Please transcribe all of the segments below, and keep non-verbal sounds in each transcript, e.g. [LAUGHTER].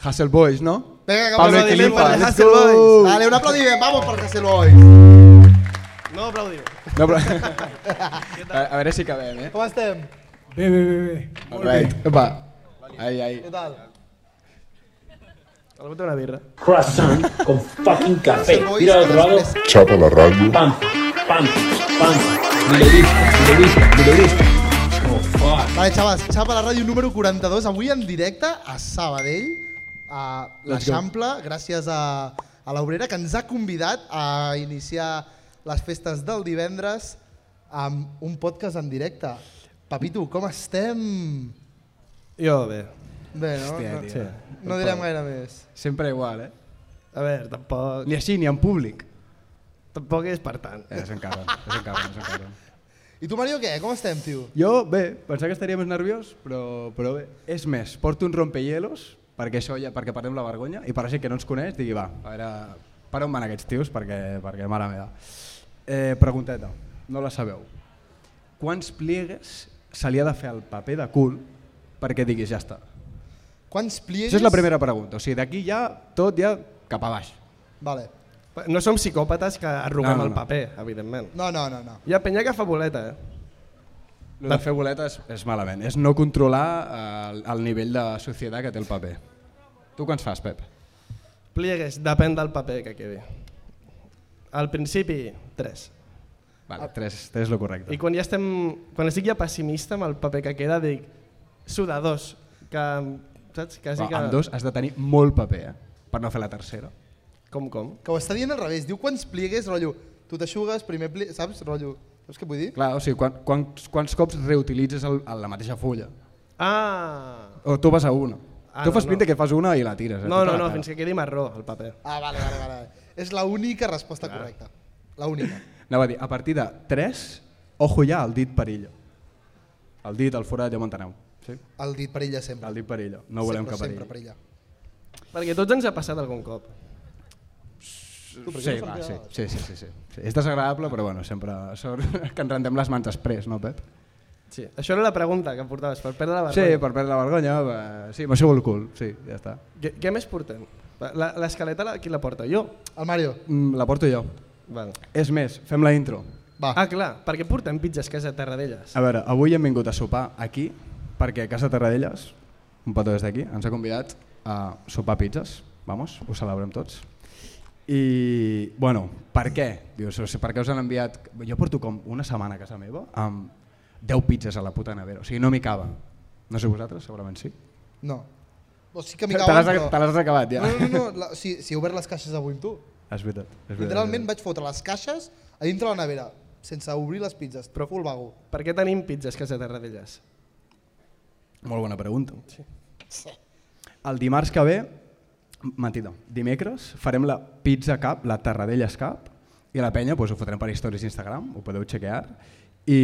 Hassel Boys, ¿no? Venga, que Pablo vamos a Equilipa, para el let's Hassel go. Boys. Dale, un aplaudimiento. Vamos para el Hassel Boys. No aplaudimos. No, però... a, a veure si acabem, eh? Com estem? Bé, bé, bé, bé. All right. Epa. Ai, ai. Què tal? Algú té una birra. croissant con fucking café. Hassel Boys, Tira al otro lado, Chapa la radio. pam, pam, pam. Mileurista, mileurista, mileurista. Oh, fuck. Vale, xavals, xapa la ràdio número 42, avui en directe a Sabadell, a l'Eixample, gràcies a, a l'Obrera, que ens ha convidat a iniciar les festes del divendres amb un podcast en directe. Papito, com estem? Jo, bé. Bé, no? Hòstia, tio. no, no direm gaire més. Sempre igual, eh? A veure, tampoc, Ni així, ni en públic. tampoc és per tant. Eh, és un cabron, és un cabron, és un cabron. I tu, Mario, què? Com estem, tio? Jo, bé, pensava que estaria més nerviós, però, però bé. És més, porto un rompehielos, perquè això ja, perquè perdem la vergonya, i per la gent que no ens coneix, digui, va, a veure, per on van aquests tios, perquè, perquè mare meva. Eh, pregunteta, no la sabeu. Quants pliegues se li ha de fer al paper de cul perquè diguis ja està? Quants pliegues... Això és la primera pregunta, o sigui, d'aquí ja tot ja cap a baix. Vale. No som psicòpates que arruguem No, no, no, no, no. el paper, evidentment. No, no, no, no. Hi ha penya que fa boleta, eh? El de fer boleta és, és malament, és no controlar eh, el, el nivell de societat que té el paper. Tu quants fas, Pep? Pliegues, depèn del paper que quedi. Al principi, 3. Vale, tres, tres és lo correcte. I quan ja estem... Quan estic ja pessimista amb el paper que queda, dic... Suda, dos. Que, saps? Quasi Però que... amb dos has de tenir molt paper, eh? per no fer la tercera. Com, com? Que ho està dient al revés. Diu quants pliegues, rotllo, tu t'aixugues, primer pliegue... Saps, rotllo? Saps què vull dir? Clar, o sigui, quan, quants, quants cops reutilitzes el, el, la mateixa fulla? Ah! O tu vas a una? Ah, tu no, fas no. pinta que fas una i la tires. Eh? No, Tota no, la no, cara. fins que quedi marró el paper. Ah, vale, vale, vale. És la única resposta correcta. La única. Anava a dir, a partir de tres, ojo ja al dit perillo. El dit, el forat, ja m'enteneu. Sí? El dit perilla sempre. El dit perillo, no volem sempre, que perilli. Sempre perilla. Perquè a tots ens ha passat algun cop. Sí, va, sí, sí, sí, sí, sí. sí. És desagradable, però bueno, sempre sort [LAUGHS] que ens rendem les mans després, no, Pep? Sí. Això era la pregunta que em portaves, per perdre la Sí, vergonya. per perdre la vergonya, eh, sí, m'aixego el cul, sí, ja està. Què, què més portem? La- L'escaleta la- qui la porta? Jo? El Mario, Mm, La porto jo. Vale. És més, fem la intro. va. Ah, clar, perquè portem pizzas que és a Terradelles. A veure, avui hem vingut a sopar aquí perquè a Casa Terradellas, un petó des d'aquí, ens ha convidat a sopar pizzas. Vamos, ho celebrem tots. I, bueno, per què? Dius, o sigui, per què us han enviat... Jo porto com una setmana a casa meva amb 10 pizzas a la puta nevera, o sigui, no m'hi caben. No sé vosaltres, segurament sí. No. O sí que Te m'hi l'has cauen, te però... l'has acabat, ja. No, no, no, la, si, si he obert les caixes avui amb tu. [LAUGHS] És veritat. És veritat Literalment vaig fotre les caixes a dintre la nevera, sense obrir les pizzas, però full vago. Per què tenim pizzas que és a Terradelles? Molt bona pregunta. Sí. El dimarts que ve, mentida, dimecres, farem la pizza cap, la Tarradellas cap, i a la penya doncs, ho fotrem per històries Instagram, ho podeu chequear, i,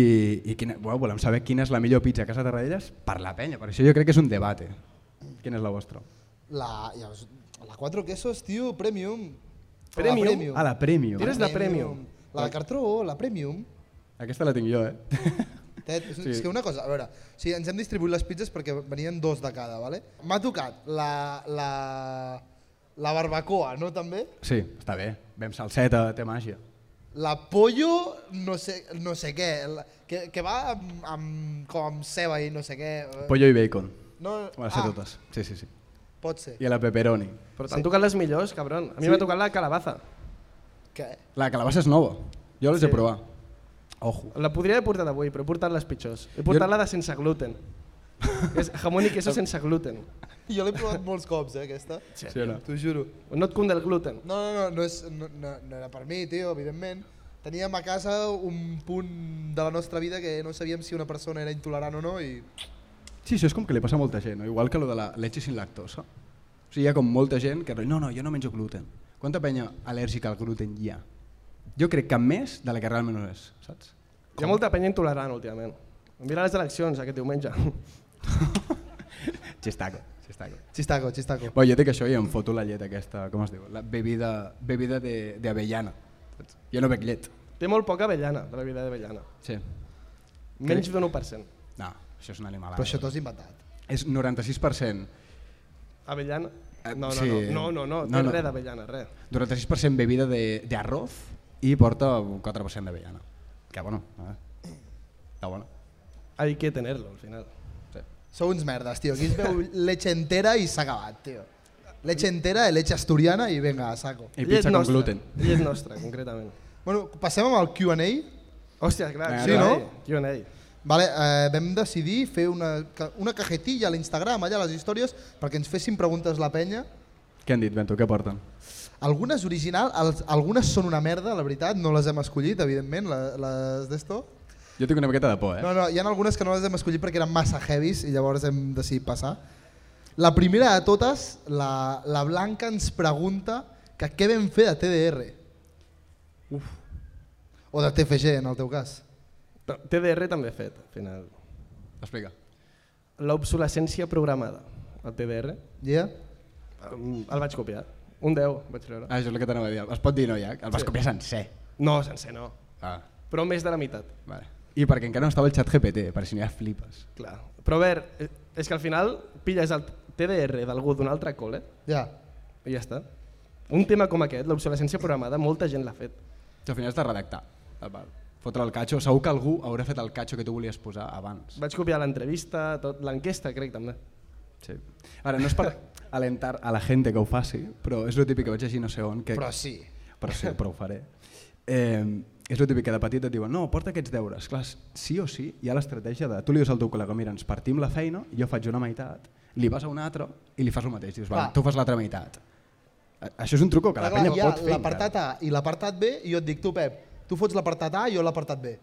i quina, bueno, volem saber quina és la millor pizza a casa Tarradellas per la penya, per això jo crec que és un debate. Quina és la vostra? La, ja, us- la 4 quesos, tio, premium. O Premium? La premium. Ah, la Premium. Tires- és la premium. La de cartró, la premium. Aquesta la tinc jo, eh? [LAUGHS] Tet, és, Sí. sí. és que una cosa, a veure, o sigui, ens hem distribuït les pizzas perquè venien dos de cada, vale? M'ha tocat la, la, la barbacoa, no també? Sí, està bé. Vem salseta, té màgia. La pollo, no sé, no sé què, la, que, que va amb, amb, com amb ceba i no sé què. Pollo i bacon. No, Bueno, ah. totes. Sí, sí, sí. pot ser. I a la pepperoni. Però t'han tocat les millors, cabron. A mi m'ha tocat la calabaza. Què? La calabassa és nova. Jo l'haig sí. de provar. Ojo. La podria haver portat avui, però he portat les pitjors. He portat la de sense gluten. és jamón i [LAUGHS] queso sense gluten. Jo l'he provat molts cops, eh, aquesta. Sí, o no? T'ho juro. No et cunde el gluten. No, no, no, no, és, no, no, no era per mi, tio, evidentment. Teníem a casa un punt de la nostra vida que no sabíem si una persona era intolerant o no i Sí, això és com que li passa a molta gent, no? igual que lo de la leche sin lactosa. O sigui, hi ha com molta gent que no, no, jo no menjo gluten. Quanta penya al·lèrgica al gluten hi ha? Jo crec que més de la que realment no és, saps? Hi ha molta penya intolerant últimament. Mira les eleccions aquest diumenge. [LAUGHS] Chistaco, chistaco. Chistaco, chistaco. Bé, jo dic això i em foto la llet aquesta, com es diu? La bebida, bebida de, de avellana. saps? Jo no bec llet. Té molt poca avellana, de la vida d'avellana. Sí. Menys d'un 1%. No, això és una animalada. Però això t'ho has inventat. És 96% Avellana? Eh, No, no, sí. no, no, no, no, no, no. res d'avellana, res. 96% bebida de, de arroz i porta un 4% d'avellana. Que bueno, eh? Està bueno. Hay que tenerlo, al final. Sí. Sou uns merdes, tio. Aquí es veu leche entera i s'ha acabat, tio. Leche entera, leche asturiana i venga, a saco. I pizza amb gluten. Llet [LAUGHS] nostra, concretament. Bueno, passem amb el Q&A. Hòstia, clar, Vinga, sí, va. no? Q&A. Vale, eh, vam decidir fer una, ca- una cajetilla a l'Instagram, allà a les històries, perquè ens fessin preguntes la penya. Què han dit, Bento? Què porten? Algunes original, els- algunes són una merda, la veritat, no les hem escollit, evidentment, la- les d'esto. Jo tinc una miqueta de por, eh? No, no, hi ha algunes que no les hem escollit perquè eren massa heavies i llavors hem decidit passar. La primera de totes, la, la Blanca ens pregunta que què vam fer de TDR. Uf. O de TFG, en el teu cas. Però TDR també he fet, al final. Explica. L'obsolescència programada, el TDR, Yeah? em- el vaig copiar. Un 10, vaig treure. Ah, això és el que t'anava a dir. Es pot dir, no, ja? El vas Sí. copiar sencer. No, sencer no. Ah, Però més de la meitat. vale. I perquè encara no estava el xat GPT, per si no ja flipes. Clar. Però a veure, eh, és que al final pilles el TDR d'algú d'un altre col·le Ja. i ja està. Un tema com aquest, l'obsolescència programada, molta gent l'ha fet. Això al final és de redactar. Ah, val. Fotre el catxo. Segur que algú haurà fet el catxo que tu volies posar abans. Vaig copiar l'entrevista, tot l'enquesta crec també. Sí. Ara, no és per alentar a la gent que ho faci, però és el típic que vaig llegir no sé on. Que... Però sí. Però sí, però ho faré. Eh, és el típic que de petit et diuen no, porta aquests deures. Clar, sí o sí, hi ha l'estratègia de tu li dius al teu col·lega, mira, ens partim la feina, jo faig una meitat, li vas a un altre i li fas el mateix. Dius, va, Clar. tu fas l'altra meitat. A- Això és un truco que la Clar, penya hi ha pot fer. L'apartat A i l'apartat B, i jo et dic, tu Pep, tu fots l'apartat A i jo l'apartat B.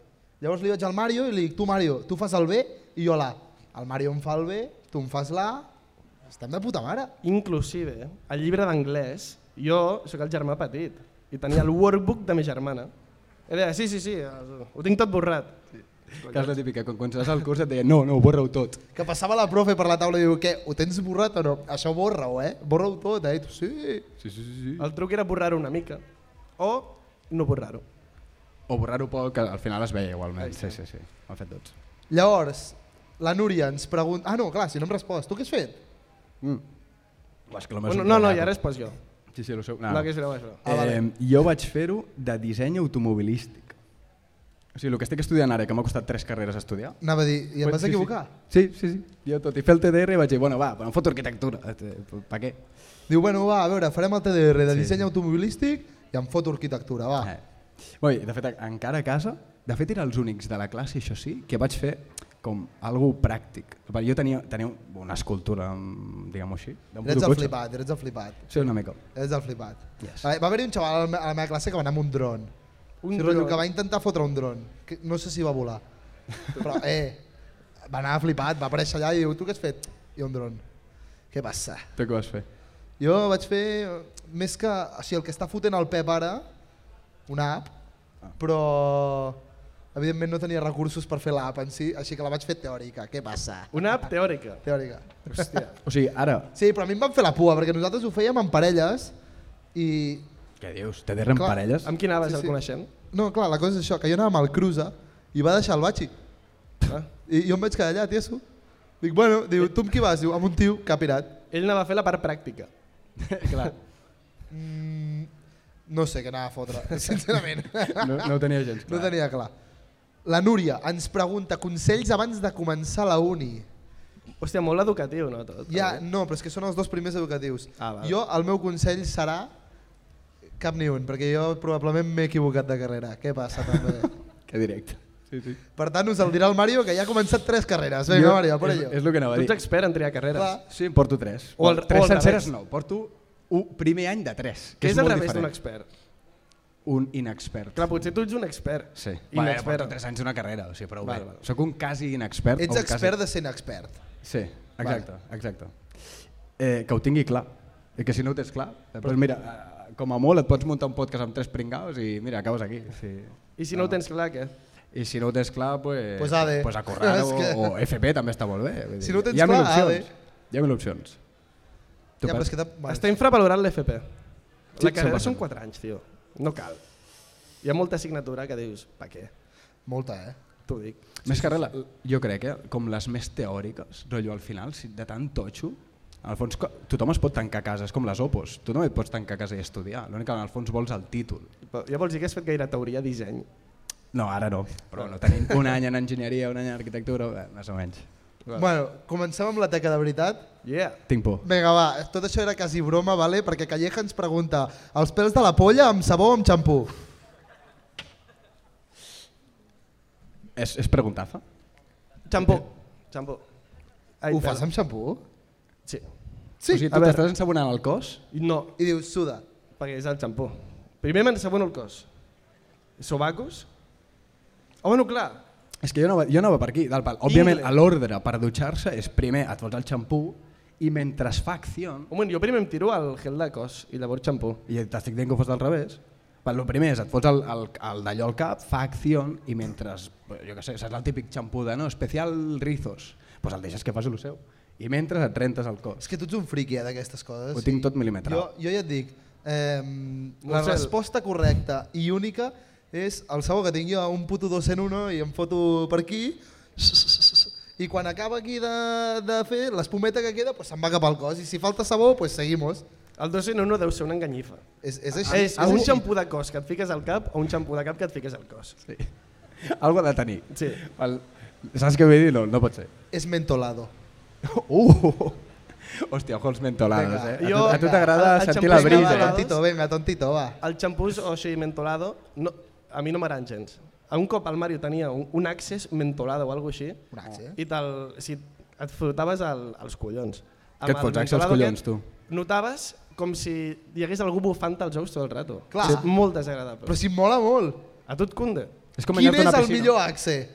Llavors li vaig al Mario i li dic, tu Mario, tu fas el B i jo l'A. El Mario em fa el B, tu em fas l'A, estem de puta mare. Inclusive, al llibre d'anglès, jo sóc el germà petit i tenia el workbook de ma germana. I deia, sí, sí, sí, ho tinc tot borrat. Que és la típica, quan començaràs el curs et deia no, no, borra-ho tot. Que passava la profe per la taula i diu, què, ho tens borrat o no? Això borra-ho, eh? Borra-ho tot, eh? I Tu, sí. Sí, sí, sí. sí. El truc era borrar-ho una mica o no borrar-ho. O borrar-ho poc, que al final es veia igualment. Sí, sí, sí, ho han fet tots. Llavors, la Núria ens pregunta... Ah, no, clar, si no em respost. Tu què has fet? Mm. Uah, és que l'home és Bueno, un no, no, rellano. ja res pas jo. Sí, sí, lo seu. No, que és greu, això. Ah, vale. eh, jo vaig fer-ho de disseny automobilístic. O sigui, el que estic estudiant ara, que m'ha costat tres carreres estudiar... Anava a dir, i em Pues, vas sí, equivocar? Sí, sí, sí. Jo tot i fer el TDR vaig dir, bueno, va, però em foto arquitectura. Eh, Per què? Diu, bueno, va, a veure, farem el TDR de Sí, disseny sí. automobilístic i em foto arquitectura, va. Eh. Bueno, i de fet, encara a casa, de fet, era els únics de la classe, això sí, que vaig fer com algo pràctic. Perquè Jo tenia, tenia una escultura, mm, diguem-ho així, d'un Eres el fotocotxe. flipat, eres el flipat. Sí, una mica. Eres el flipat. Yes. Vale, Va haver-hi un xaval a la, me- a la meva classe que va anar amb un dron. Un sí, rotllo, dron. Que va intentar fotre un dron. Que no sé si va volar. [LAUGHS] Però, eh, va anar flipat, va aparèixer allà i diu, tu què has fet? I un dron. Què passa? Tu què vas fer? Jo vaig fer, eh, més que, o sigui, el que està fotent el Pep ara, una app, però evidentment no tenia recursos per fer l'app en si, així que la vaig fer teòrica. Què passa? Una app teòrica. Teòrica. Hòstia. O sigui, ara... Sí, però a mi em van fer la pua, perquè nosaltres ho fèiem en parelles i Què dius? TDR en Clar, parelles? Amb qui anaves, Sí, el sí. coneixent? No, clar, la cosa és això, que jo anava amb el Cruza i va deixar el batxi. Ah. I jo em vaig quedar allà, tieso. Dic, bueno, diu, tu amb qui vas? Diu, amb un tio que ha pirat. Ell anava a fer la part pràctica. Clar, Mm, No sé què anava a fotre, [LAUGHS] sincerament. no, [LAUGHS] no ho tenia gens clar. No tenia clar. La Núria ens pregunta consells abans de començar la uni. Hòstia, molt educatiu, no? Tot, Ja, també? no, però és que són els dos primers educatius. Ah, val. jo, el meu consell serà cap ni un, perquè jo probablement m'he equivocat de carrera. Què passa, [LAUGHS] també? Que directe. Sí, sí. per tant, us el dirà el Mario, que ja ha començat tres carreres. Vinga, Mario, per és, ello. és el que anava a Tu ets dir. expert en triar carreres. Clar. Sí, en porto tres. O al- tres o al senceres revés. no, porto un primer any de tres. Què Que és, és, és al molt revés d'un diferent. expert? Un inexpert. Clar, potser tu ets un expert. Sí. Vale, Inexpert. porto tres anys d'una carrera, o sigui, però Val, val, val. Soc un quasi inexpert. Ets o un expert de ser inexpert. Quasi... Sí, exacte, exacte. Eh, que ho tingui clar. I que si no ho tens clar, doncs mira, eh, com a molt et pots muntar un podcast amb tres pringaus i mira, acabes aquí. Sí. I Ah. si no ho tens clar, què? I si no ho tens clar, pues, Pues AD. [LAUGHS] pues a correr És o, que- o FP també està molt bé. Vull Si dir, no ho tens hi ha mil clar, AD. opcions. Hi ha mil opcions. Tu Ja, però Pep? és que Bueno, bueno, Està infravalorat l'FP. Sí, La carrera 100%. són 4 anys, tio. No cal. Hi ha molta assignatura que dius, pa què? Molta, eh? T'ho dic. Més que res, la- jo crec que eh, com les més teòriques, rotllo al final, si de tant totxo, En el fons, co- tothom es pot tancar a casa, és com les opos. Tu també et pots tancar a casa i estudiar. L'únic que en el fons vols el títol. Ja vols dir que has fet gaire teoria disseny. No, ara no. Però no tenim un any en enginyeria, un any en arquitectura, eh, més o menys. Bueno, comencem amb la teca de veritat. Yeah. Tinc por. Vinga, va, tot això era quasi broma, vale? perquè Calleja ens pregunta els pèls de la polla amb sabó o amb xampú? És, és preguntafa? Xampú. Xampú. Ai, Ho perdó. fas amb xampú? Sí. O sigui, Sí. tu A veure. t'estàs ensabonant el cos? I No, I dius, suda. perquè és el xampú. Primer m'ensabono el cos. Sobacos. Ah, bueno, clar. És que jo no, va- jo no va per aquí. Del pal. Òbviament, Ingle. a l'ordre per dutxar-se és primer et fots el xampú i mentre es fa acció, Un moment, jo primer em tiro al gel de cos i llavors xampú. i t'estic dient que ho fos del revés, el primer és et fots el, el, el d'allò al cap, fa acció i mentre, jo què sé, saps el típic xampú de no, especial rizos, doncs el deixes que faci el seu. I mentre et rentes el cos. És que tu ets un friqui eh, d'aquestes coses. Ho tinc tot milimetrat. Jo, jo ja et dic, eh, la Marcel. resposta correcta i única és el sabó que tinc jo, un puto 2 en 1 i em foto per aquí i quan acaba aquí de, de fer l'espumeta que queda pues, se'n va cap al cos i si falta sabó pues, seguimos. El 2 en 1 deu ser una enganyifa. És, és així. Ah, és, és un xampú de cos que et fiques al cap o un xampú de cap que et fiques al cos. Sí. [LAUGHS] Algo ha de tenir. Sí. El, saps què vull dir? No, no pot ser. és mentolado. Uh! Hòstia, ojo els mentolados, Vinga, eh? jo- a tu a tu t'agrada el- el sentir xampú la és brisa, Venga, eh? mentolado. tontito, venga, tontito, va. El xampús o així mentolado, no, a mi no m'agraden gens. Un cop el Mario tenia un, un access mentolado o alguna així, Un axe. i te'l, si et fotaves el, els collons. Què et Amb el fots, Axe, als mentolado collons, aquest, Notaves com si hi hagués algú bufant als ous tot el rato. Clar. És molt desagradable. Però si mola molt. A tu et cunde. És Quin anar-te a és una el piscina. millor axe?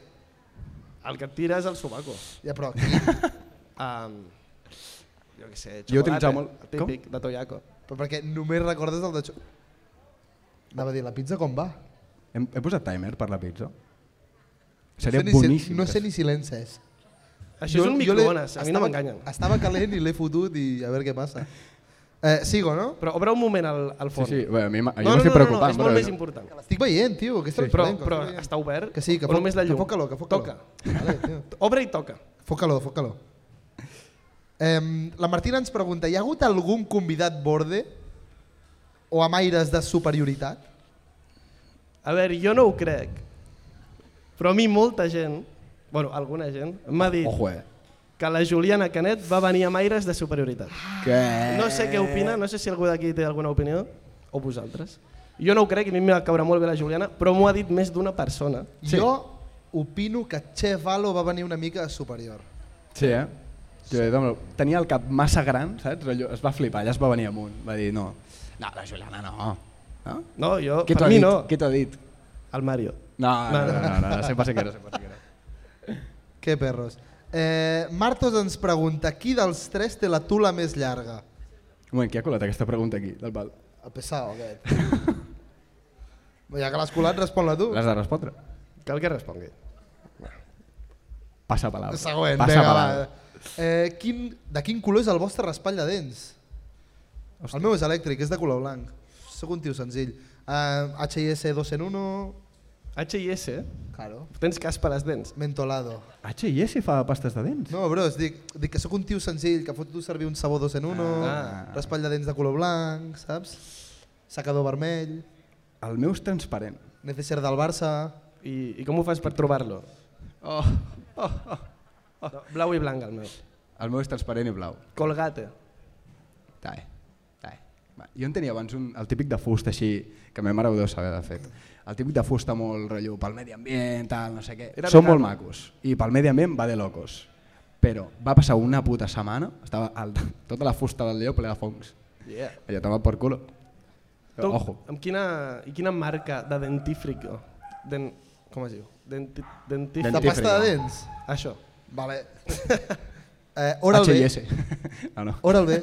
El que et tira és el sobaco. Ja, però qui? Um, jo què sé, xocolata, Jo he utilitzat molt- el típic de Toyaco. Però perquè només recordes el de... xo- Anava a dir, la pizza com va? Hem, he posat timer per la pizza? Seria no sé ni si- boníssim. eh. No que- sé ni si l'ens és. Això és un l'he- microones, a mi no estava- m'enganyen. Estava calent i l'he fotut i a veure què passa. Eh, sigo, no? Però obre un moment el, el Sí, forn. sí, bé, a mi m'ha- jo No, no, no, m'estic no, no, preocupant. és molt però- més important. Estic veient, tio, que és Però, transparent. que però estic veient. està obert Que sí, que o només la llum? Que fot calor, que fot Toca. calor. Vale, tio. Obre i toca. Fot calor, fot calor. Eh, la Martina ens pregunta, hi ha hagut algun convidat borde o amb aires de superioritat? A veure, jo no ho crec, però a mi molta gent, bueno, alguna gent, m'ha dit Ojo, eh? que la Juliana Canet va venir amb aires de superioritat. Que... Ah, No sé què Eh. opina, no sé si algú d'aquí té alguna opinió, o vosaltres. Jo no ho crec, a mi em va caure molt bé la Juliana, però m'ho ha dit més d'una persona. Sí. Jo opino que Che Valo va venir una mica superior. Sí, eh? Jo, doncs, tenia el cap massa gran, saps? Allò, es va flipar, allà es va venir amunt. Va dir, no, no, la Juliana no. no? No, jo, Qui t'ho per ha mi dit? no, Qui t'ho ha dit? el Mario. No, no, no, no, no, no, sempre sé que era, sempre sé que era. Que perros. Eh, Martos ens pregunta, qui dels tres té la tula més llarga? Un moment, qui ha colat aquesta pregunta aquí? Del pal. El pesado aquest. ja que l'has colat, respon-la tu. L'has de respondre. Cal que respongui. Passa palau. Següent, Passa vinga, palau. va. Eh, quin, de quin color és el vostre raspall de dents? Hòstia. El meu és elèctric, és de color blanc. Sóc un tio senzill. Eh, HIS 2 en 1, H.I.S. eh? claro, Tens cas per les dents. mentolado. H&S fa pastes de dents? No, bros, dic, dic que sóc un tio senzill, que foto servir un sabó 2 en 1, ah. Ah. raspall de dents de color blanc, saps? Sacador vermell, El meu és transparent. necessari del Barça... I, i com ho fas per trobar-lo? Oh, oh, oh. No, blau i blanc, el meu. El meu és transparent i blau. Colgate. Tae. Tae. Va, Jo en tenia abans un, el típic de fusta així, que ma mare ho deu saber, de fet. El típic de fusta molt rotllo pel medi ambient, tal, no sé què. Era Són vegano. molt macos. I pel medi ambient va de locos. Però va passar una puta setmana, estava al, tota la fusta del lleó ple de fongs. Yeah. Allò toma por culo. Eh, Tu, Ojo. Amb quina, I quina marca de dentífrico? Den, com es diu? Denti, dentífrico. De Dentífrico. pasta de dents? Això. [LAUGHS] Vale. eh, Oral B. H&S. [LAUGHS] no, no. Oral B.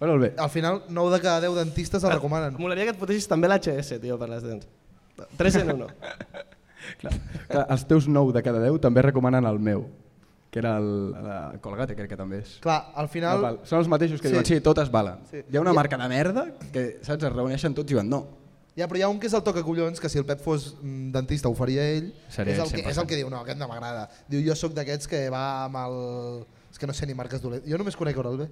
Oral B. Al final, 9 de cada 10 dentistes Ah. el recomanen. Molaria que et fotessis també l'HS, tio, per les dents. 3 en 1. Clar, clar, els teus 9 de cada 10 també recomanen el meu, que era el, el Colgate, crec que també és. Clar, al No final... Ah, val. Són els mateixos que Sí. diuen, sí, totes valen. Sí. Hi ha una I- marca de merda que, saps, es reuneixen tots i diuen, no. Ja, però hi ha un que és el toca collons, que si el Pep fos mm, dentista ho faria ell, Seria és, el ell que, 100%. és el que diu, no, aquest no m'agrada. Diu, jo sóc d'aquests que va amb el... És que no sé ni marques dolentes. Jo només conec Oral B.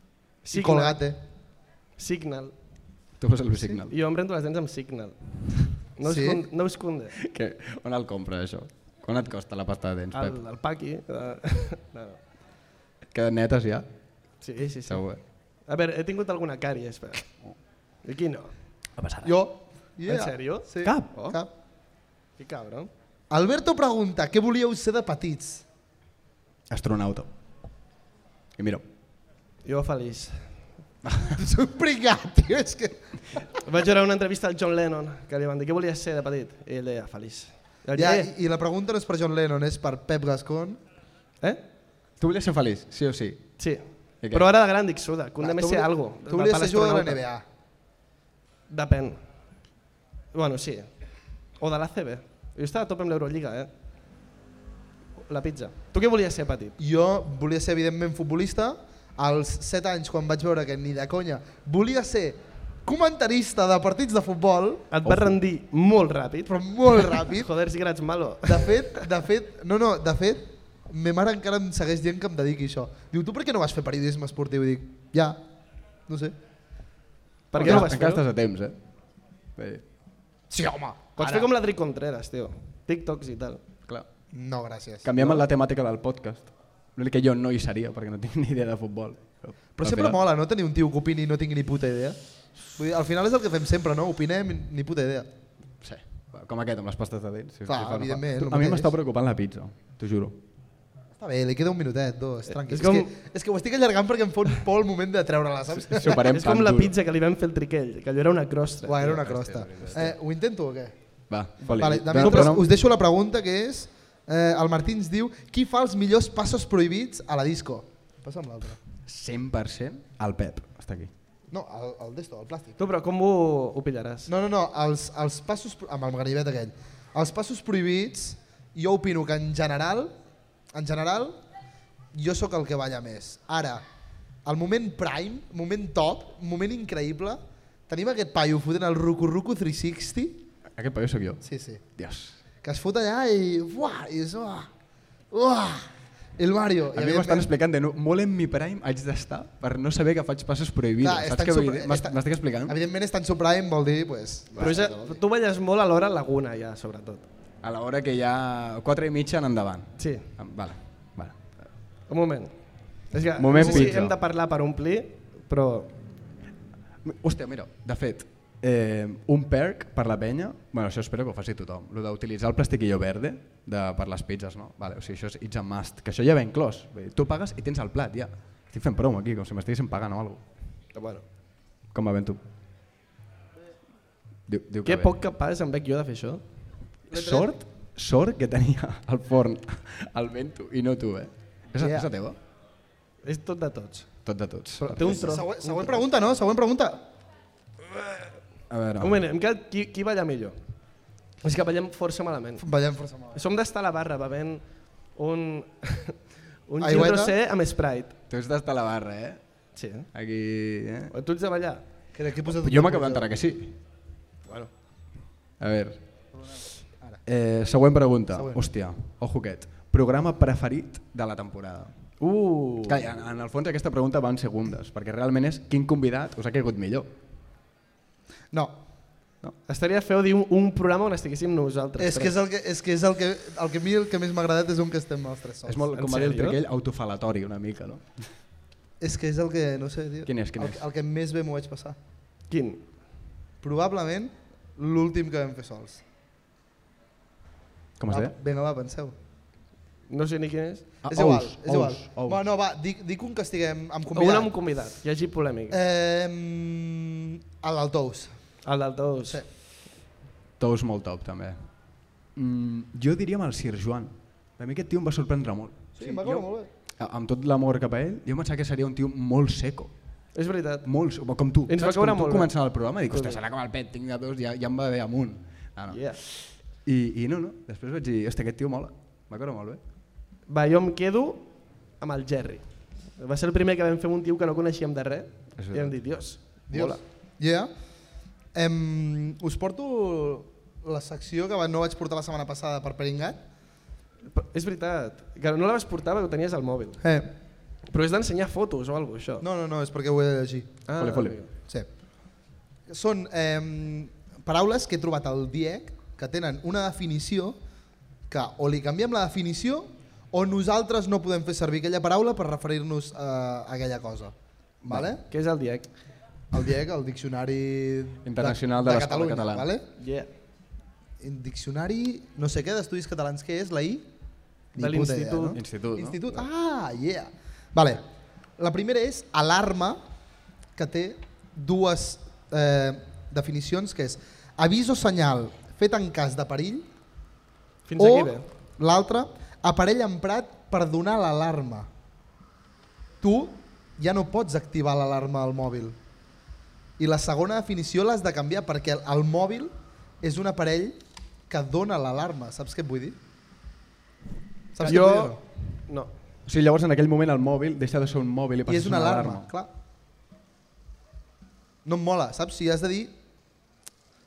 [LAUGHS] I Colgate. Signal. Tu fas el Signal. Jo em rento les dents amb Signal. No us, Sí? con, no us conde. Que, on el compra, això? Quan et costa la pasta de dents, El, Pep? el Paqui. eh, no, [LAUGHS] no. Que netes ja? Sí, sí, sí. Segur. A veure, he tingut alguna càrie, espera. Aquí no. Jo. Yeah. En sèrio? Sí. Cap? Oh. Cap. Que cabron. Alberto pregunta, què volíeu ser de petits? [LAUGHS] Astronauta. I mira, Jo feliç. Soc pringat, tio, és que... Vaig veure una entrevista al John Lennon, que li van dir què volies ser de petit, i ell deia feliç. I Ja, ja, eh, i, I la pregunta no és per John Lennon, és per Pep Gascon. eh? tu volies ser feliç, sí o sí? Sí. I què? Però ara de gran dic suda, que un Ah, de més tu ser voli- algo. Tu volies Del pal ser jugador de la astronauta. NBA. Depèn. Bueno, sí. O de l'ACB. Jo estava a tope amb l'Eurolliga, eh? La pizza. Tu què volies ser petit? Jo volia ser, evidentment, futbolista. Als 7 anys, quan vaig veure que ni de conya, volia ser comentarista de partits de futbol, Et vas rendir molt ràpid. però [LAUGHS] molt ràpid. Joder, si que eres malo. De fet, de fet, no, no, de fet, me mare encara em segueix dient que em dediqui a això. Diu, tu per què no vas fer periodisme esportiu? I dic, ja, no sé. Per què no vas Encara fer-ho? estàs a temps, eh? Bé, Sí, home. Pots fer com l'Adri Contreras, tio. TikToks i tal. clar. No, gràcies. Canviem la temàtica del podcast. L'únic que jo no hi seria, perquè no tinc [LAUGHS] ni idea de futbol. Però, Però al sempre final- mola, no? Tenir un tio que opini i no tingui ni puta idea. Vull dir, al final és el que fem sempre, no? Opinem i ni puta idea. Sí. Com aquest, amb les pastes de dents. Si si Clar, fa, no fa. evidentment, Tu- el A mi mateix. m'està preocupant la pizza, t'ho juro. Està bé, li queda un minutet, dos, tranqui. és És, com- que, és que ho estic allargant perquè em fot por el moment de treure-la, saps? Si ho parem és com tan la duro. pizza que li vam fer el triquell, que allò era una crostra. Uah, era una crosta. Eh, ho intento o què? Va, foli. Vale, Dona- Damià, però dona- us deixo la pregunta que és, eh, el Martí ens diu, qui fa els millors passos prohibits a la disco? Passa amb l'altre. 100% al Pep. Està aquí. No, el, el d'esto, el plàstic. Tu, però com ho, ho pillaràs? No, no, no, els, els passos, pro- amb el ganivet aquell, els passos prohibits, jo opino que en general, en general, jo sóc el que balla més. Ara, el moment prime, moment top, moment increïble, tenim aquest paio fotent el Ruku Ruku 360, Aquest paio sóc jo. sí, sí, Dios. que es fot allà i uah, i és uah, uah, el Mario. A mi m'estan explicant de no, molt en mi prime haig d'estar per no saber que faig passes prohibides. Clar, Saps estan què vull sobre- dir? M'est- estan- M'estic explicant? Evidentment, estan subprime vol dir, pues, Però és, a- tu balles molt a l'hora laguna, ja, sobretot. A l'hora que hi ha 4 i mitja en endavant. Sí, Em- Vale, vale. un moment. És que Moment no sé si pizza. hem de parlar per omplir, però... M- Hòstia, mira, de fet, eh, un perk per la penya, bueno, això espero que ho faci tothom, el d'utilitzar el plastiquillo verde de, per les pizzas, no? Vale, o sigui, això és it's a must, que això ja ve inclòs. Vull dir, Tu pagues i tens el plat, ja. Estic fent promo aquí, com si m'estiguessin pagant o alguna cosa. Ah, Bueno, Com va ben tu? Diu, diu que bé. poc capaç em veig jo de fer això. Sort, sort que tenia el forn al vento i no tu, eh? És, yeah. Yeah. és la teva? És tot de tots. Tot de tots. Però té un tros. Següent, següent pregunta, no? Següent pregunta. A veure, Un moment, hem quedat qui, qui balla millor. És que ballem força malament. Ballem força malament. Som d'estar a la barra bevent un... [LAUGHS] un gin Aigüeta? rosé amb Sprite. tu has d'estar a la barra, eh? Sí. eh? Aquí, eh? O tu ets de ballar. Crec que he posat Jo m'acabo d'enterar que sí. Bueno, A veure. Eh, següent pregunta. Següent. Hòstia, ojo aquest. Programa preferit de la temporada. Uh! Clar, en, en el fons aquesta pregunta va en segundes, perquè realment és quin convidat us ha caigut millor. No, Estaria feu dir un, un programa on estiguéssim nosaltres. és que és el que, és que, és el que, el que a mi el que més m'ha agradat és un que estem els tres sols. és molt, en com va dir el sèrio? Triquell, autofalatori una mica, no? és que és el que, no sé, tio. Quin és, quin el, és? El que més bé m'ho vaig passar. Quin? Probablement l'últim que vam fer sols. Com es va, deia? Vinga, va, penseu. No sé ni quin és. Ah, Ah. és igual, ous, és igual. ous, ous. Va, no, va, dic, dic un que estiguem amb Convidat. Un convidat. amb convidat, hi hagi polèmica. Eh, el del Tous. Eh. El del Tous. Sí. Tous molt top, també. Mm, jo diria amb el Sir Joan. A mi aquest tio em va sorprendre molt. Sí, m'ha acabat molt eh. bé. A- Amb tot l'amor cap a ell, jo em pensava que seria un tio molt seco. És veritat. Molts, com tu. Ens va saps? caure com tu molt bé. començant el programa, dic, hòstia, Sí. serà com el pet, tinc de dos, ja, ja em va bé amunt. No, no. Yeah. I, I no, no, després vaig dir, hòstia, aquest tio mola, va caure molt bé. Va, jo em quedo amb el Jerry. Va ser el primer que vam fer amb un tio que no coneixíem de res. És I veritat. vam dir, dios, Dios. mola. Yeah. Em, us porto la secció que va- no vaig portar la setmana passada per Peringat. Però és veritat, que no la vas portar perquè ho tenies al mòbil. Eh. Però és d'ensenyar fotos o alguna cosa, això. No, no, no, és perquè ho he de llegir. Ah, Fole, fole. amigo. Sí. Són eh, paraules que he trobat al DIEC que tenen una definició que o li canviem la definició o nosaltres no podem fer servir aquella paraula per referir-nos eh, a aquella cosa. Vale? Què és el diec? El DIEC, el Diccionari Internacional de l'Escola Catalunya. Catalana. Vale? Yeah. El Diccionari no sé què d'Estudis Catalans, què és la I? Ni De puta idea, l'Institut. no? Institut, no? Institut. Ah, yeah. Vale. La primera és alarma, que té dues eh, definicions, que és avís o senyal fet en cas de perill, Fins o Oh! aquí bé. l'altra, aparell emprat per donar l'alarma. Tu ja no pots activar l'alarma al mòbil. I la segona definició l'has de canviar perquè el- el mòbil és un aparell que dona l'alarma. Saps què et vull dir? Saps què et jo... vull dir o no? No. O sigui, llavors en aquell moment el mòbil deixa de ser un mòbil i I passa és una alarma, clar. No em mola, saps? Si has de dir...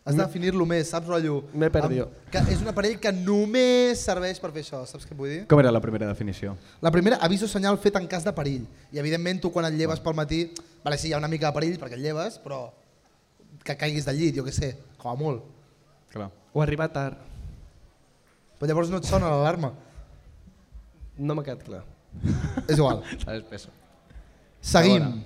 Has de definir-lo més, saps, rotllo? M'he perdido. Amb- Que és un aparell que només serveix per fer això, saps què vull dir? Com era la primera definició? La primera, avís o senyal fet en cas de perill. I evidentment tu quan et lleves pel matí, vale, sí, hi ha una mica de perill perquè et lleves, però que caiguis del llit, jo què sé, com a molt. Clar. O arribar tard. Però llavors no et sona l'alarma. No m'ha quedat clar. És igual. Sabes peso. Seguim.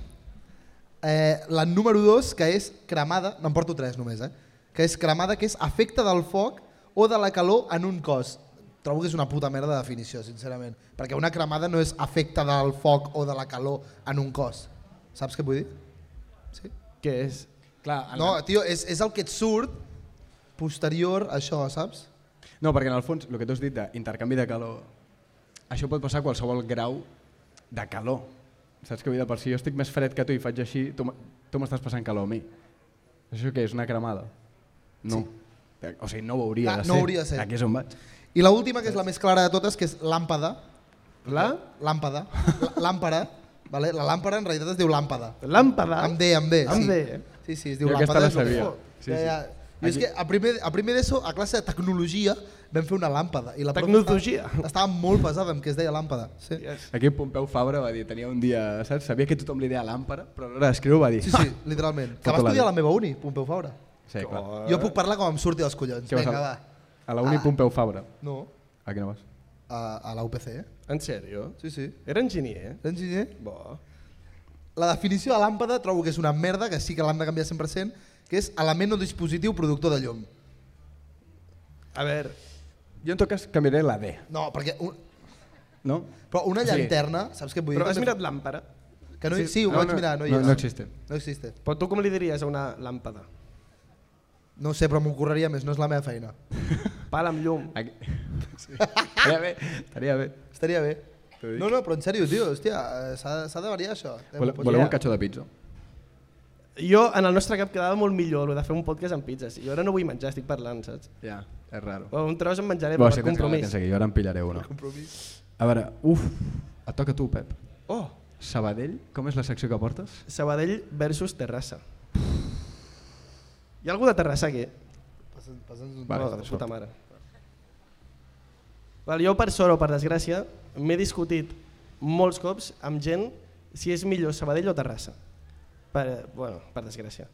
Eh, la número 2, que és cremada, no en porto tres només, eh? que és cremada, que és efecte del foc o de la calor en un cos. Trobo que és una puta merda de definició, sincerament. Perquè una cremada no és efecte del foc o de la calor en un cos. Saps què vull dir? Sí? Què és? Clar, en No, tio, és, és el que et surt posterior a això, saps? No, perquè en el fons, el que tu has dit d'intercanvi de calor, això pot passar a qualsevol grau de calor. Saps que vull dir? Per si jo estic més fred que tu i faig així, tu m- tu m'estàs passant calor a mi. Això què és, una cremada? No. O sigui, no ho hauria Ah, de ser. no hauria de ser. Aquí és on vaig. I la última, que és la més clara de totes, que és làmpada. La? Làmpada. L- Làmpara. Vale? La làmpara en realitat es diu làmpada. Làmpada? Amb D, amb D. Amb sí. D. eh? Sí, sí, es diu Jo aquesta làmpada. la és el que sabia. fot. Sí, ja, sí. ja. Jo és que a primer, a primer d'ESO, a classe de tecnologia, vam fer una làmpada. I la profe Tecnologia. Estava, estava molt pesada amb què es deia làmpada. Sí, Yes. Aquí Pompeu Fabra va dir, tenia un dia, saps? Sabia que tothom li deia làmpara, però a l'hora d'escriure ho va dir. sí, sí [LAUGHS] literalment. Que Foto va Tota la estudiar D. a la meva uni, Pompeu Fabra. sí clar. Jo puc parlar com em surti dels collons. Què vas Vinga, a- va. A la uni Pompeu Fabra. No, A quina vas? a, a la UPC. eh? En sèrio? Sí, sí. Era enginyer, eh? Ets enginyer? Bo. La definició de làmpada trobo que és una merda, que sí que l'han de canviar 100%, que és element o dispositiu productor de llum. A veure, Jo en tot cas canviaré la D, No, perquè un, no? però una Sí. llanterna, saps què et vull dir? però has mirat làmpara? Que no, hi- sí, ho No, vaig no, mirar, no hi no, és. no existe. No existe. Però tu com li diries a una làmpada? No ho sé, però m'ocorreria més, no és la meva feina. Pal amb llum. Aquí. Sí. Estaria bé, estaria bé. Estaria bé. T'ho dic. No, no, però en sèrio, tio, hòstia, eh, s'ha s'ha de variar això. Eh, Voleu, ho pots voleu mirar. un catxó de pizza? Jo, en el nostre cap quedava molt millor el de fer un podcast amb pizzas. Jo ara no vull menjar, estic parlant, saps? Ja, és raro. Bueno, un tros em menjaré Bé, per si tens gana, compromís. tens aquí, jo ara en pillaré una. A veure, uf, et toca tu, Pep. Oh, Sabadell, com és la secció que portes? Sabadell versus Terrassa. Hi ha algú de Terrassa aquí? Passa'ns- Passa'ns un... Vale, oh, de de sort. puta mare. Val, jo per sort o per desgràcia m'he discutit molts cops amb gent si és millor Sabadell o Terrassa. Per, bueno, per desgràcia.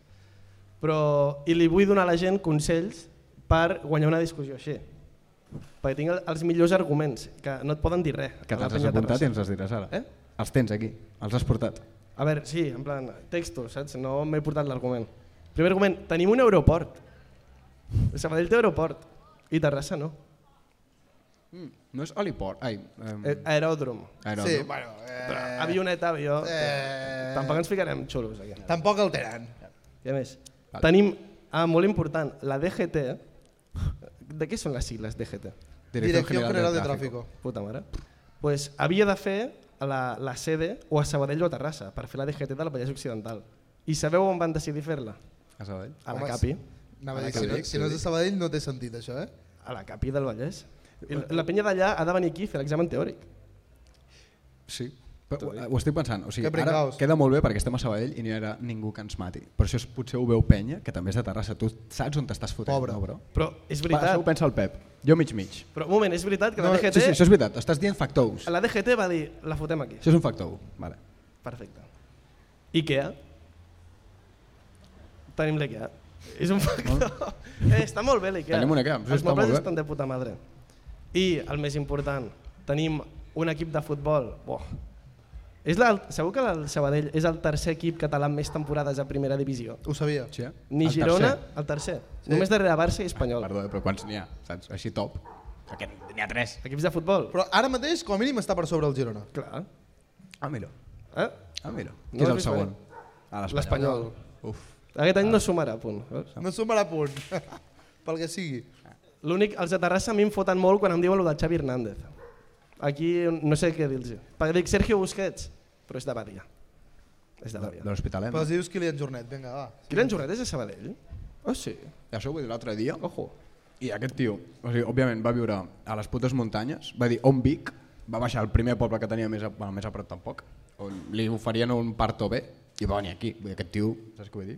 Però, I li vull donar a la gent consells per guanyar una discussió així. Perquè tinc el- els millors arguments, que no et poden dir res. Que a la te'ls has penya apuntat Terrassa. i ens les diràs ara. Eh? Els tens aquí, els has portat. A veure, sí, en plan, textos, saps? No m'he portat l'argument. Primer argument, tenim un aeroport. Sabadell té aeroport i Terrassa no. No és Oliport, ai... Eh, Eh, aeròdrom. aeròdrom. Sí, bueno, Però eh, avioneta, avió... eh, Tampoc ens ficarem xulos aquí. tampoc el tenen. Què més? Vale. Tenim, ah, molt important, la DGT. De què són les sigles DGT? Direcció General de Tráfico. Puta mare. pues havia de fer a la, la sede o a Sabadell o a Terrassa per fer la DGT del Vallès Occidental. I sabeu on van decidir fer-la? A Sabadell. A la Home, Capi. Anava a Ara dir, que si, ho no, dic, si que ho no és de dic. Sabadell no té sentit això, eh? A la Capi del Vallès. I la penya d'allà ha de venir aquí a fer l'examen teòric. Sí. Però, ho, ho estic pensant, o sigui, Que ara pringaos. queda molt bé perquè estem a Sabadell i no hi haurà ningú que ens mati. Però això és, potser ho veu Penya, que també és de Terrassa. Tu saps on t'estàs fotent, Pobre. no, bro? Però és Va, això ho veritat. pensa el Pep. Jo mig-mig. Però un moment, és veritat que la No, sí, DGT, sí, això és veritat. Estàs dient factous. la DGT va dir, la fotem aquí. Això és un factou. Vale. Perfecte. IKEA. Tenim l'IKEA. És un factor. Eh, està molt bé l'IKEA. Tenim un IKEA, sí, Els està molt mobles bé. estan de puta madre. I el més important, tenim un equip de futbol. Buah. És la, segur que el Sabadell és el tercer equip català amb més temporades a primera divisió. Ho sabia. Sí, eh? Ni El Girona, tercer. el tercer. Només darrere Barça i Espanyol. Perdó, eh, però quants n'hi ha? Saps? Així top. Aquest n'hi ha tres. Equips de futbol. Però ara mateix, com a mínim, està per sobre el Girona. Clar. Ah, mira. Eh? Ah, mira. No Qui és has el vist eh? segon? Ah, L'Espanyol. Uf. Aquest any no sumarà, punt. Veus? No sumarà punt, [LAUGHS] pel que sigui. L'únic, els de Terrassa a mi em foten molt quan em diuen el de Xavi Hernández. Aquí no sé què dir-los. Perquè dic Sergio Busquets, però és de Badia. És de De Badia. de l'Hospitalet. Però els dius Kilian Jornet, vinga, va. Gran jornada és de Sabadell? Ah, Oh, sí. I això ho vaig dir l'altre dia. Ojo. I aquest tio, o sigui, òbviament, va viure a les putes muntanyes, va dir on Vic, va baixar al primer poble que tenia més a, bueno, més a prop tampoc, on li oferien un parto bé, i va venir aquí. Vull dir, aquest tio, saps què vull dir?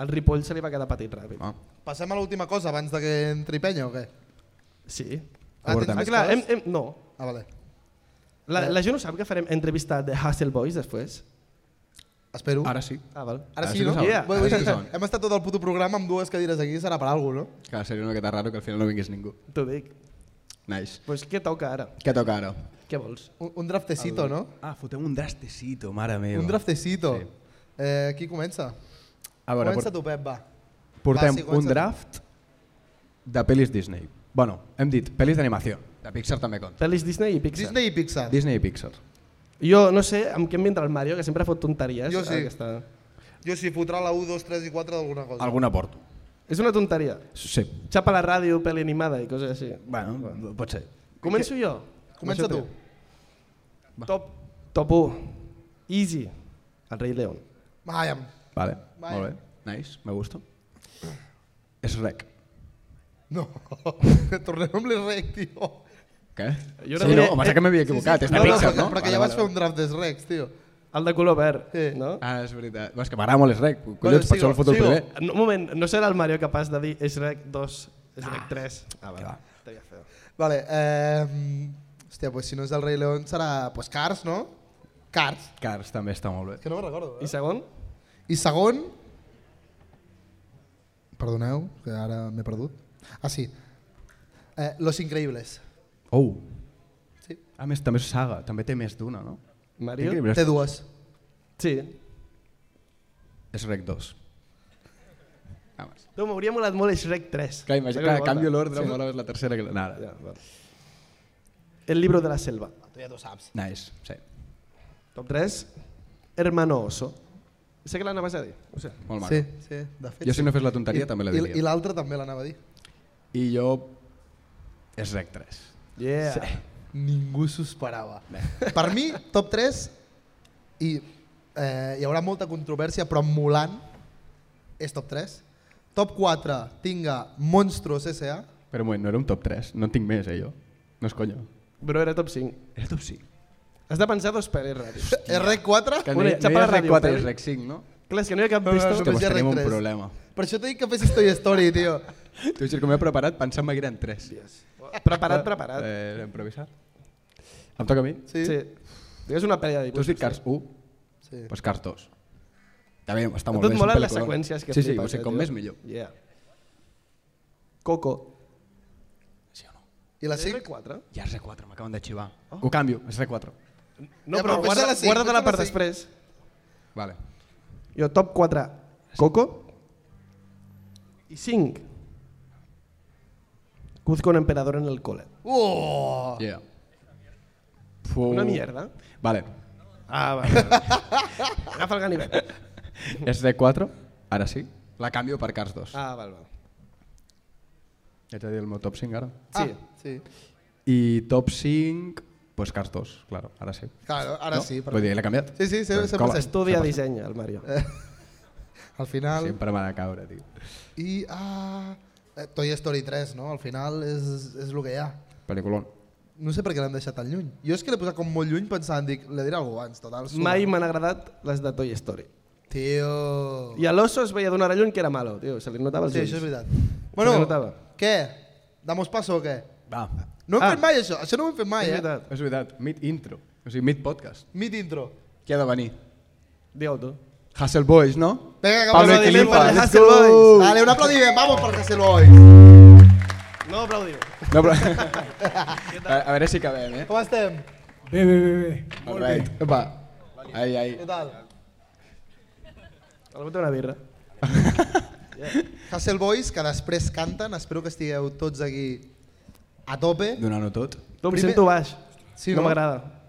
Al Ripoll se li va quedar petit ràpid. Ah. Passem a l'última cosa abans de que entri penya o què? Ah, Sí. tens Abortem. Ah, més clar, hem, coses? hem, no. Ah, vale. Eh. La, la gent ho sap que farem entrevista de Hustle Boys després? Espero. Ara sí. Ah, val. Ara Ara sí, sí que no? saben. Yeah. Vull Ara sí dir, que saben. hem estat tot el puto programa amb dues cadires aquí, serà per alguna cosa, Que seria una miqueta raro que al final no vingués ningú. [LAUGHS] T'ho dic. Nice. Pues què toca ara? Què toca ara? Què vols? no? Un, un draftecito, no? Ah, fotem un drastecito, mare meva. Un draftecito. Sí. Eh, qui comença? A veure, comença port tu, Pep, va. portem Va, sí, comença un tu. draft de pel·lis Disney. Bueno, hem dit pel·lis d'animació. De Pixar també compta. Pel·lis Disney i Pixar. Disney i Pixar. Disney i Pixar. Jo no sé amb què em vindrà el Mario, que sempre fot tonteries. Jo sí. Aquesta... Jo sí, fotrà la 1, 2, 3 i 4 d'alguna cosa. Alguna porto. És una tonteria. Sí. Xapa la ràdio, pel·li animada i coses així. Bueno, pot ser. Començo jo? Comença tu. Va. Top, top 1. Easy. El rei León. Vaya. Vale, Vale. molt bé. Nice, me gusta. És rec. No. [LAUGHS] Tornem amb l'Srec, tio. Què? Jo sí, no, no diré- em pensava que m'havia equivocat, és de no, Pixar, perquè- no? Perquè Vale, ja vas vale, fer un draft d'Srecs, tio. El de color verd, Sí. no? vale. Ah, és veritat. És que m'agrada molt és rec, collons, per Bueno, això el sigo, foto el sigo. primer. No, Un moment, no serà el Mario capaç de dir Shrek 2, Shrek 3. Ah, va. va. Estaria feo. Vale, eh... Hòstia, pues si no és el Rei León serà... Pues Cars, no? Cars. Cars també està molt bé. Que no me'n recordo, I eh? segon? I segon... Perdoneu, que ara m'he perdut. Ah, sí. Eh, Los Increíbles. Oh. Sí. A més, també és saga, també té més d'una, no? Té Mario? Increïbles. Té dues. Sí. És rec 2. Ah, vas. No, m'hauria molat molt Shrek 3. Clar, imagina, clar, Segona canvio volta. l'ordre, sí. mola més la tercera que la... Nada. Ja, va. El libro de la selva. Tu ja t'ho saps. Nice, sí. Top 3. Hermano Oso. Sé que l'anaves a dir. Ho sé. Molt maco. Sí, sí, de fet. Jo si no fes la tonteria I- també la i- diria. I l'altra també l'anava a dir. I jo... És rec 3. Yeah. Sí. Ningú s'ho esperava. Per mi, top 3, i eh, hi haurà molta controvèrsia, però Mulan és top 3. Top 4, tinga Monstruos S.A. Però un moment, no era un top 3, no en tinc més, eh, jo. No és conyo. Però era top 5. Era top 5. Has de pensar dos per ràdio. R4, Que Una no, hi- no hi xapa ha de rec ràdio, 4 i Pere. rec 5, no? Clar, és que no hi ha cap No, no, pista. Hòstia, només hi pues ha tenim rec un tres. problema. per això t'he dit que fessis Toy Story, tio. Tu dius que m'he preparat pensant que eren 3. Preparat, preparat. Eh, improvisar. Em toca a mi? Sí? Sí. Digues una parella de Tu has dit dibuixos. Cars 1, sí. doncs Cars 2. També està Ah, molt Tot bé. és un molen les peliculón. seqüències que Sí, sí, flipes, o sigui, eh, com tio. més millor. Yeah. Coco. I la 5? R4? Ja és R4, m'acaben de xivar. Ho canvio, és R4. No, Ja, però però pensa guarda, la cinc, guarda-la pensa per la cinc. després. Vale. Jo, top 4. Coco. I 5. Cuzco un emperador en el cole. Oh! Yeah. Fu... Una mierda. Vale. Ah, [LAUGHS] va. va. Agafa el ganivet. És R4, ara sí. La canvio per Cars 2. Ah, val, val. Haig de dir el meu top 5 ara. Ah, Sí. sí. I top 5, pues Cars 2, claro, ara sí. Pues Claro, ara sí. Per... Vull dir, l'he canviat. Sí, sí, sempre, Com- sempre, sempre. Estudia disseny, el Mario. Al final... Sempre m'ha de caure, tio. I ah, eh, Toy Story 3, no? Al final és, és el que hi ha. Peliculón. No sé per què l'han deixat tan lluny. Jo és que l'he posat com molt lluny pensant, dic, l'he diré algú abans, total. suma. Mai m'han agradat les de Toy Story. Tio... I a l'oso es veia d'una hora lluny que era malo, tio, se li notava els Sí, això és ulls. veritat. notava. Bueno, què? Damos paso o què? Va, No hem Ah. fet mai això, això no ho hem fet mai, És eh? veritat. és veritat, mid intro, o sigui, mid podcast. Mid intro. Què ha de venir? Digue-ho tu. Hustle Boys, no? Vinga, Pablo que Pablo Equilíparo, Equilíparo, let's Hassel go. Boys. Vale, un aplaudiment, vamos, per Hassel Boys. No aplaudiu. No, però... [LAUGHS] a, a veure si acabem, eh? Com estem? Bé, bé, bé, bé. All right. Va. Ai, ai. Què tal? Algú té una birra. Hassel Boys, que després canten, espero que estigueu tots aquí a tope. Donant-ho tot. Tu em Primer- sento baix. Sí, no no? m'agrada.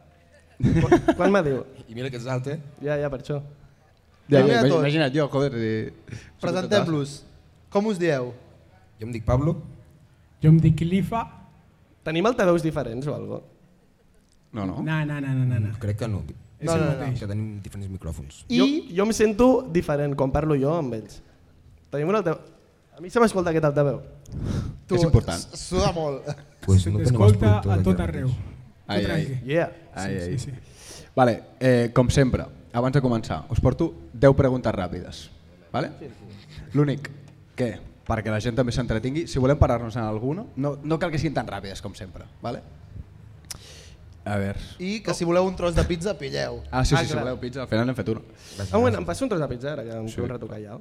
Quan, quan me diu? I mira que és alt, eh? Ja, ja, per això. Ja, ja, Primer imagi- de tot. imagina't jo, joder. eh, I... Presentem-los. Com us dieu? Jo em dic Pablo. Jo em dic Lifa. Tenim altaveus diferents o alguna No, no. No, no, no, no, no. no. Crec que no. És el mateix. Que tenim diferents micròfons. I Jo, jo em sento diferent quan parlo jo amb ells. Tenim un altaveu. A mi se m'escolta aquest altaveu. És important. s- Suda molt. Pues no tenim els Escolta productors a tot aquí arreu. mateix. Ai, Tu ai. tranqui. Yeah. Ai, ai. Sí, sí, Vale, eh, com sempre, abans de començar, us porto 10 preguntes ràpides. Vale? L'únic que, perquè la gent també s'entretingui, si volem parar-nos en alguna, no, no cal que siguin tan ràpides com sempre. Vale? A veure... I que si voleu un tros de pizza, pilleu. Ah, sí, Ah, sí, si clar. voleu pizza, al final n'hem fet una. Ah, bueno, em passa un tros de pizza ara, que em sí. un retocar ja.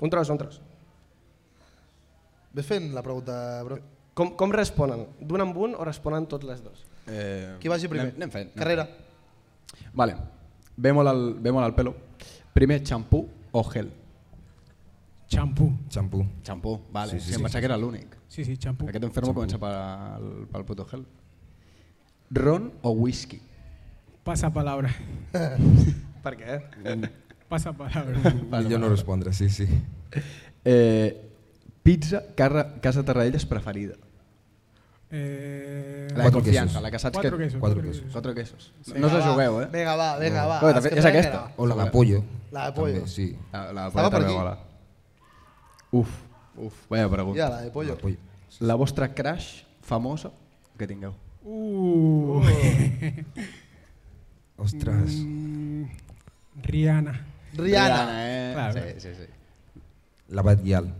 Un tros, un tros. Ves fent la pregunta, bro. Com, com responen? D'un amb un o responen tots les dos? Eh, Qui vagi primer? Anem, anem fent. Anem. Carrera. fent. Vale, ve molt, al, ve molt al pelo. Primer, xampú o gel? Xampú. Xampú. Xampú, vale. Sí, Sí, sí, sí, sí, sí. em pensava que era l'únic. Sí, sí, xampú. Aquest enfermo comença pel, pel puto gel. Ron o whisky? Passa palabra. [LAUGHS] Per què? Mm. [LAUGHS] Passa palabra. Millor no respondre, sí, sí. Eh, pizza, carra, casa Tarradellas preferida. Eh, La de Quatre confiança, quesos. la que saps Quatre que... quesos. quatre quatre quesos. quesos. Quatre quesos. no us la va, jugueu, eh? Vinga, va, vinga, va. Bueno, Es també- que és sabem aquesta. que O la de pollo. La de pollo. També, sí. La, la de Estava pollo per també aquí. mola. Uf, uf, vaya no. pregunta. Ja, la de pollo. La pollo. La vostra crush famosa que tingueu. Uh. Ostres. Mm, Rihanna. Rihanna. eh? Clar, sí, sí, sí. La Batguial.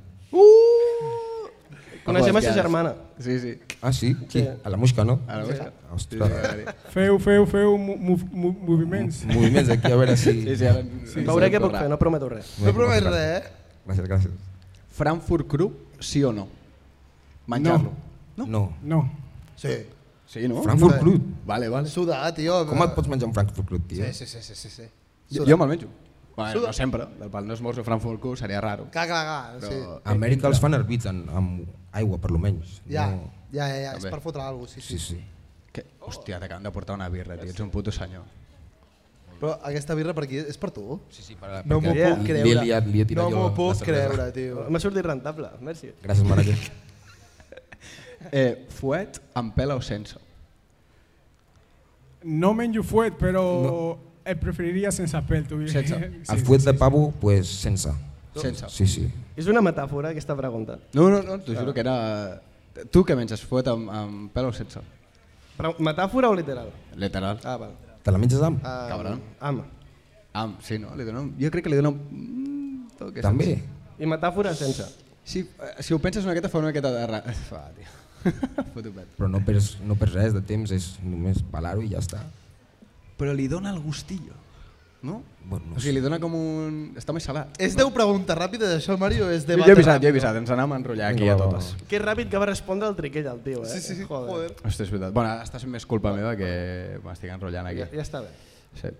Coneixem a sa Hostias. germana. Sí, sí. Ah, sí? Qui? Sí. A la Musca, no? A la busca. Ostres. Feu, feu, feu mo- mo- mo- moviments. Moviments aquí, a veure si... Sí, sí, ara... Sí, Veuré què puc fer, no prometo res. No promet res, eh? Gràcies, gràcies. Frankfurt Cru, sí o no? Menjar-lo. No? No. No. Sí. Sí, no? Frankfurt Sí. Crude. Vale, vale. Sudar, tio. Com et pots menjar un Frankfurt Crude, tio? Sí, sí, sí, sí, sí. sí. Jo, Suda. eh? jo me'l menjo. Bueno, Suda. no sempre, del pal no es mors o Frankfurt Cru seria raro. Clar, clar, clar. Però... eh, Sí. A Amèrica els fan hervits en, amb aigua, per lo menys. Ja, No. ja, ja, ja. És També. per fotre alguna cosa, sí, Sí, sí. sí. Que, hòstia, t'acaben de portar una birra, tio, ets un puto senyor. Però aquesta birra per aquí és per tu? Sí, sí, per, No m'ho perquè puc li- Li he creure. liat, li he tirat No jo m'ho la puc cervesa. creure, tio. M'ha sortit rentable, merci. Gràcies, mare. que- Eh, fuet, amb pela o sense? No menjo fuet, però eh, preferiria sense pèl. Tu. Sense. El fuet de pavo, pues, sense. Sense. Sí, sí. És una metàfora, aquesta pregunta. No, no, no, t'ho juro que era... Tu que menges fuet amb, amb pela o sense? Però metàfora o literal? Literal. Ah, val. Te la menges amb? Ah, Cabron. Am. Am, sí, no? Li dono, jo crec que li dono... Mm, toque També. sense. I metàfora sense. Si, eh, si ho penses una miqueta, fa una miqueta de... Ra... [LAUGHS] Fa, tio. [LAUGHS] Foto pet. Però no perds, no perds res de temps, és només pelar-ho i ja està. Però li dona el gustillo, no? Bueno, no O sigui, li dona com un... Està més salat. És 10 preguntes ràpides, això, Mario? És Jo de he avisat, jo he avisat, ens anem a enrotllar aquí Vinga, a va, va, totes. Que ràpid que va respondre el triquell, el tio, eh? Sí, sí, sí. Joder. Hòstia, és veritat. Bueno, ara està sent més culpa meva que m'estic enrotllant Ja, aquí. ja està bé. Sí.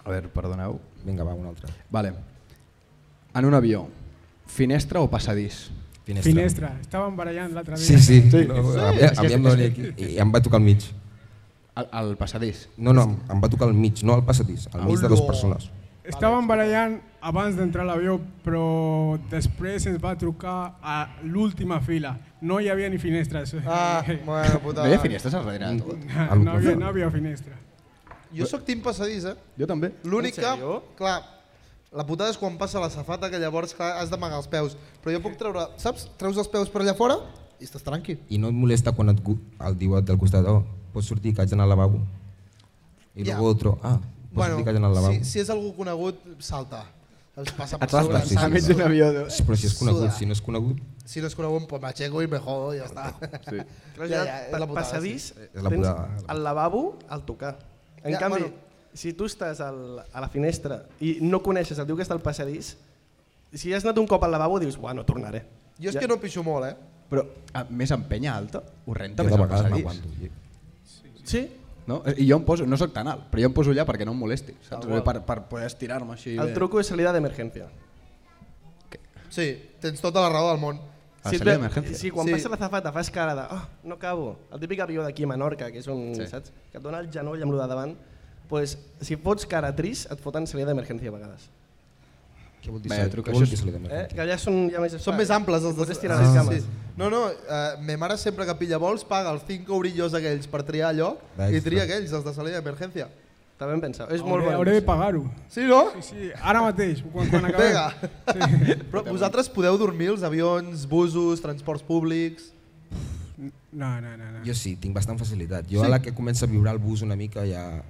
A veure, perdoneu. Vinga, va, una altra. Vale. En un avió, finestra o passadís? Finestra. Finestra. Estàvem barallant l'altre dia. Sí, sí. No, a mi, a mi em va venir aquí i em va tocar al mig. Al, al passadís. No, no, em- em va tocar al mig, no al passadís, Ah, al mig de dues persones. Estàvem barallant abans d'entrar a l'avió, però després ens va trucar a l'última fila. No hi havia ni finestres. [LAUGHS] Ah, bueno, puta. No hi ha finestres al darrere de tot? No, no, havia, no havia finestra. Jo sóc tim passadís, eh? Jo també. L'únic En que, sèrio? clar, la putada és quan passa la safata que llavors clar, has d'amagar els peus. Però jo puc treure, saps? Treus els peus per allà fora i estàs tranqui. I no et molesta quan et, gu- el diu del costat, oh, pots sortir que haig d'anar al lavabo. I Ja. yeah. otro, ah, pots bueno, sortir que haig d'anar al lavabo. si, si és algú conegut, salta. Saps? Passa per Et salta, sobre, sí, sí, A salta. mig d'un avió. de- Sí, Però si és conegut, Suda. si no és conegut, Si no és conegut, pues m'aixeco i me jodo i ja està. Sí. Clar, Ja, ja, ja, és pa- la putada, passadís, És la tens putada. el lavabo al tocar. En Ja, ja, canvi, bueno. bueno. si tu estàs al, a la finestra i no coneixes el tio que està al passadís, si has anat un cop al lavabo dius, buah, no tornaré. Jo és Ja. que no pixo molt, eh? Però a, més en penya alta, ho renta jo més de al vegades passadís. m'aguanto. Jo- Sí? No? I jo em poso, no sóc tan alt, però jo em poso allà perquè no em molesti, saps? Ah, guau. per, per poder estirar-me així. El bé. truco és salida d'emergència. Sí, tens tota la raó del món. A la Si, et salida ve- d'emergència? si quan Sí. sí. passa la zafata fas cara de oh, no cabo, el típic avió d'aquí a Menorca, que és un, Sí. sí. saps? Que et dona el genoll amb lo de davant, pues, si fots cara trist et foten salida d'emergència a vegades. Què vol dir Vaja, Vaja, truca, truca, això això és- Eh? Que allà són ja més espai. Són més amples els Pots dos. estirar les cames. No, no, eh, me mare sempre que pilla vols paga els 5 eurillos aquells per triar allò i D'extra. tria aquells, els de salida d'emergència. Està ben pensat. És molt Hauré, valent. hauré de pagar-ho. Sí, no? Sí, sí, ara mateix, quan, [LAUGHS] quan acabem. Vinga. Sí. [LAUGHS] Però vosaltres podeu dormir els avions, busos, transports públics... No, no, no. no. Jo sí, tinc bastant facilitat. Jo sí. a la que comença a vibrar el bus una mica ja...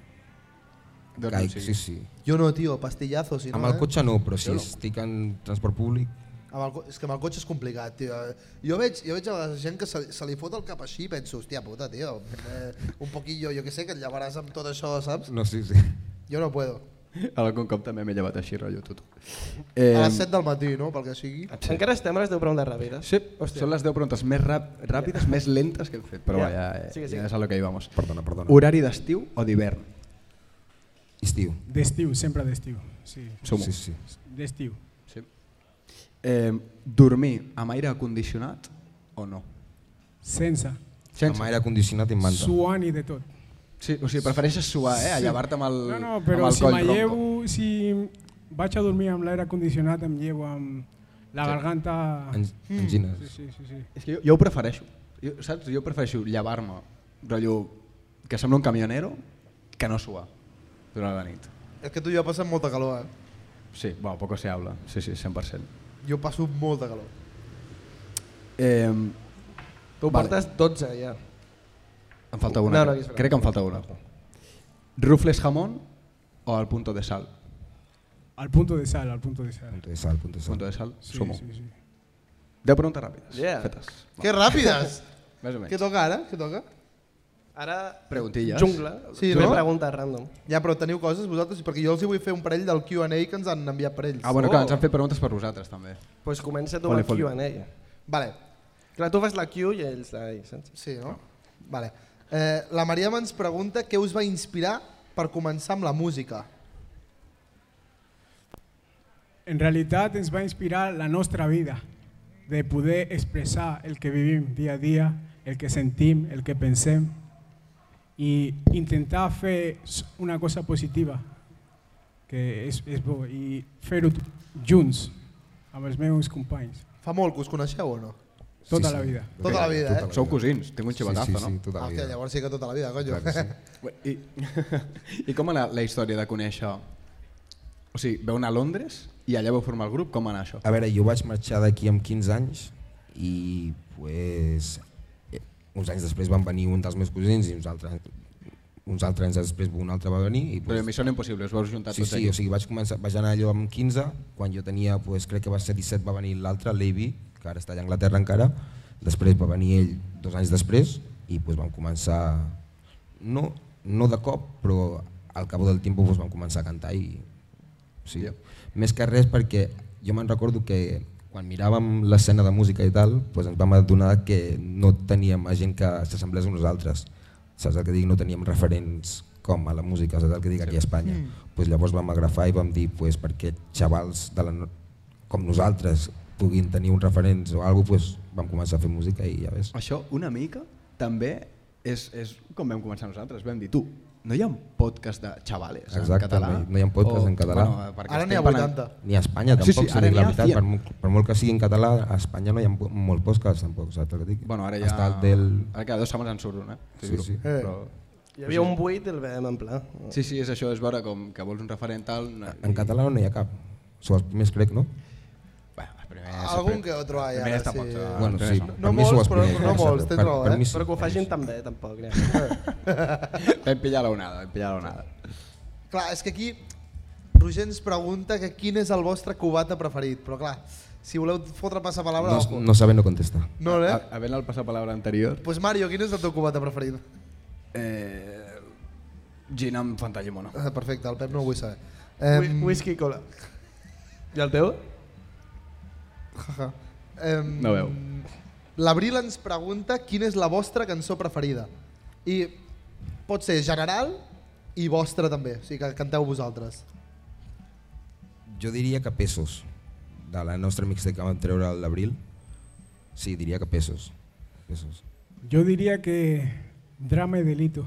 Doncs Caic, sí. sí, sí. Jo no, tio, pastillazo, si no, Amb el eh? cotxe no, però si estic en transport públic... Amb el, co- és que amb el cotxe és complicat, tio. Jo veig, jo veig a la gent que se, li- se li fot el cap així i penso, hòstia puta, tio, eh, un poquillo, jo que sé, que et llevaràs amb tot això, saps? No, sí, sí. Jo no puedo. A l'algun cop també m'he llevat així, rotllo, tot. A Eh, les 7 del matí, no?, pel que sigui. Encara estem a les 10 preguntes ràpides. Sí, són les 10 preguntes més rap, ràpides, més lentes que hem fet, però Ja. vaja, eh, Sigue, sigue. ja és a lo que hi vamos. Perdona, perdona. Horari d'estiu o d'hivern? Estiu. D'estiu, sempre d'estiu. Sí, Sumo. Sí, sí. d'estiu. Sí. Eh, dormir amb aire acondicionat o no? Sense. Sense. Amb aire condicionat i amb manta. Suant i de tot. Sí, o sigui, prefereixes suar, eh? A llevar-te amb el, No, no, amb però el si coll me ronco. llevo, si vaig a dormir amb l'aire condicionat, em llevo amb la garganta... Ang- Hmm. angines. Sí, sí, sí. sí. És que jo, jo ho prefereixo. Jo, saps? Jo prefereixo llevar-me, rotllo, que sembla un camionero, que no suar durant la nit. És que tu ja passem molta calor, eh? Sí, bueno, poco se habla. Sí, sí, 100%. Jo passo molta calor. Eh, Tu Vale. portes 12 ja. em falta una. No, no, crec. és veritat. crec que em falta una. Rufles jamón o al punto de sal? Al punto de sal, al punto de sal. Punto de sal, punto de sal. Punto de sal, Sí, sumo. sí, sí. Deu preguntes ràpides, Yeah. fetes. [LAUGHS] Que ràpides! Més o Què menys. toca ara? Què toca? Ara, Preguntilles. jungla, Sí, fem no? preguntes random. Ja, però teniu coses vosaltres? Perquè jo els hi vull fer un parell del Q&A que ens han enviat per ells. Ah, bueno, clar, Oh. ens han fet preguntes per vosaltres, també. Doncs pues comença tu Foli, amb foli. la Q&A. Vale, Clar, tu fas la Q i ells la I, saps? sí, no? Vale. Eh, la Maria ens pregunta què us va inspirar per començar amb la música. En realitat ens va inspirar la nostra vida, de poder expressar el que vivim dia a dia, el que sentim, el que pensem, i intentar fer s- una cosa positiva, que és, és bo, i fer-ho t- junts amb els meus companys, Fa molt que us coneixeu o no? tota la vida. Tota la vida, eh? Sou cosins, tinc un xivatazo, sí, sí, sí, no? tota la Hòstia, vida. llavors sí que tota la vida, Clar conyo. que sí. [LAUGHS] I, [LAUGHS] I com anar la història de conèixer... O sigui, veu anar a Londres i allà veu formar el grup, com anar això? A veure, jo vaig marxar d'aquí amb 15 anys i pues, eh, uns anys després van venir un dels meus cosins i uns altres, uns altres anys després un altre va venir i Però a pues, mi són impossibles, veus juntar sí, tots sí, o sigui, vaig, començar, vaig anar allò amb 15 quan jo tenia, pues, crec que va ser 17 va venir l'altre, l'Evi, que ara està allà a Anglaterra encara després va venir ell dos anys després i pues, vam començar no, no de cop però al cap del temps pues, vam començar a cantar i Sí. Ja. Més que res perquè jo me'n recordo que quan miràvem l'escena de música i tal, doncs ens vam adonar que no teníem a gent que s'assemblés a nosaltres. Saps el que dic? No teníem referents com a la música, saps el que dic? Aquí a Espanya. Mm. Pues llavors vam agafar i vam dir pues, perquè xavals de la no... com nosaltres puguin tenir uns referents o alguna cosa, pues, vam començar a fer música i ja ves. Això, una mica, també és, és com vam començar nosaltres. Vam dir, tu, no hi ha un podcast de xavales en Exacte, català? no hi- no hi ha un podcast en català. perquè Ara n'hi ha estem parlant- 80. Ni a Espanya Sí, tampoc, sí, ara dic n'hi la ha veritat, cien. per, molt, per molt que sigui en català, a Espanya no hi ha molt podcast tampoc, saps el que dic? Bueno, ara ja... Està el del... Ara cada dues setmanes en surt un, eh? T'ho Sí, juro. sí. Però... Hi havia un buit i el vam emplar. Sí, sí, és això, és veure com que vols un referent tal... En català no n'hi ha cap. Són els primers, crec, no? Bueno, els primers... Ah, ja Algun que otro hay, També ara, està poc, sí. eh? Bueno, Però sí, no. per mi s'ho molts, vas però- conèixer. no molts, sempre. tens Per- raó, per eh? mi sí. Però que ho facin també, tampoc. Ja. Vam pillar l'onada, vam pillar l'onada. Clar, és que aquí Roger ens pregunta que quin és el vostre cubata preferit, però clar, si voleu fotre passapalabra... No, Ah, ojo. no saben no contestar. no eh? A- Havent el passapalabra anterior, Pues Mario, quin és el teu cubata preferit? eh, gin amb Fantallimona. Ah, Perfecte, el Pep no ho vull saber. Whi- Whisky i cola. I el teu? jaja. Em, No veu. L'Abril ens pregunta quina és la vostra cançó preferida. I pot ser general i vostra també, o sigui que canteu vosaltres. Jo diria que pesos. De la nostra mixtape que vam treure a l'abril, sí, diria que pesos. pesos. Yo diría que drama y delito.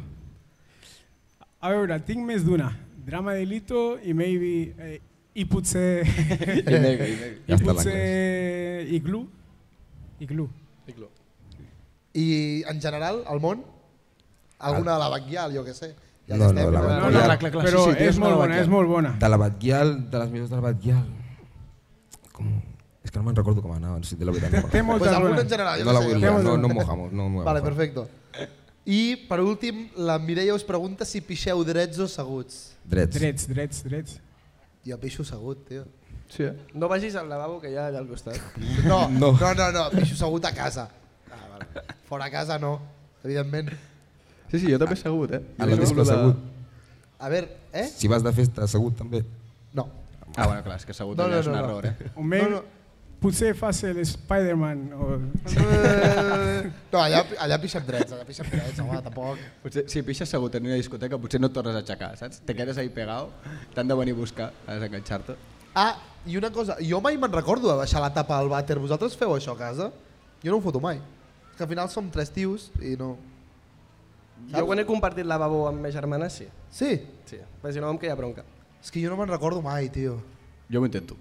A veure, tinc més d'una. Drama i delito i maybe... Eh, I potser... I maybe, i maybe. I Gasta potser... Iglú. Iglú. I en general, al món, alguna de la Batguial, jo què sé. No, no, la però- Ah, Batguial. Clar, clar, clar, Però sí, sí, tens és una molt bona, vaquera. és molt bona. De la Batguial, de les millors de la Batguial. Com... És que no me'n recordo com anava, si de la veritat. no me'n Té Pues recordo. moltes alguna en bones. general, jo No la què vull sé. liar, no, [LAUGHS] no mojamos. No, no Vale, mojamos. perfecto. I, per últim, la Mireia us pregunta si pixeu drets o seguts. Drets. Drets, drets, drets. Jo pixo segut, tio. [LAUGHS] Sí, eh? No vagis al lavabo que hi ha allà al costat. No, no, No. no, no, no pixo segut a casa. Ah, vale. Fora a casa no, evidentment. sí, sí, jo també segut, eh? A la Jo sóc disco la- assegut. A veure, eh? Si vas de festa assegut també. No. Ah, bueno, clar, és que segut No, allà no, és un no, no. error, eh? O maybe, No, no. potser fas el Spider-Man o... Eh, No, allà, allà pixem drets, allà pixem drets, home, tampoc. Potser, si pixes segut en una discoteca, potser no et tornes a aixecar, saps? Te quedes ahí pegado, t'han de venir a buscar, a desenganxar-te. Ah, i una cosa, jo mai me'n recordo de baixar la tapa al vàter. Vosaltres feu això a casa? Jo no ho foto mai. És que al final som tres tios i no... Jo quan he compartit lavabo amb mes germanes, sí. Sí, Sí, perquè si no em queia bronca. és que jo no me'n recordo mai, tio. Jo ho intento.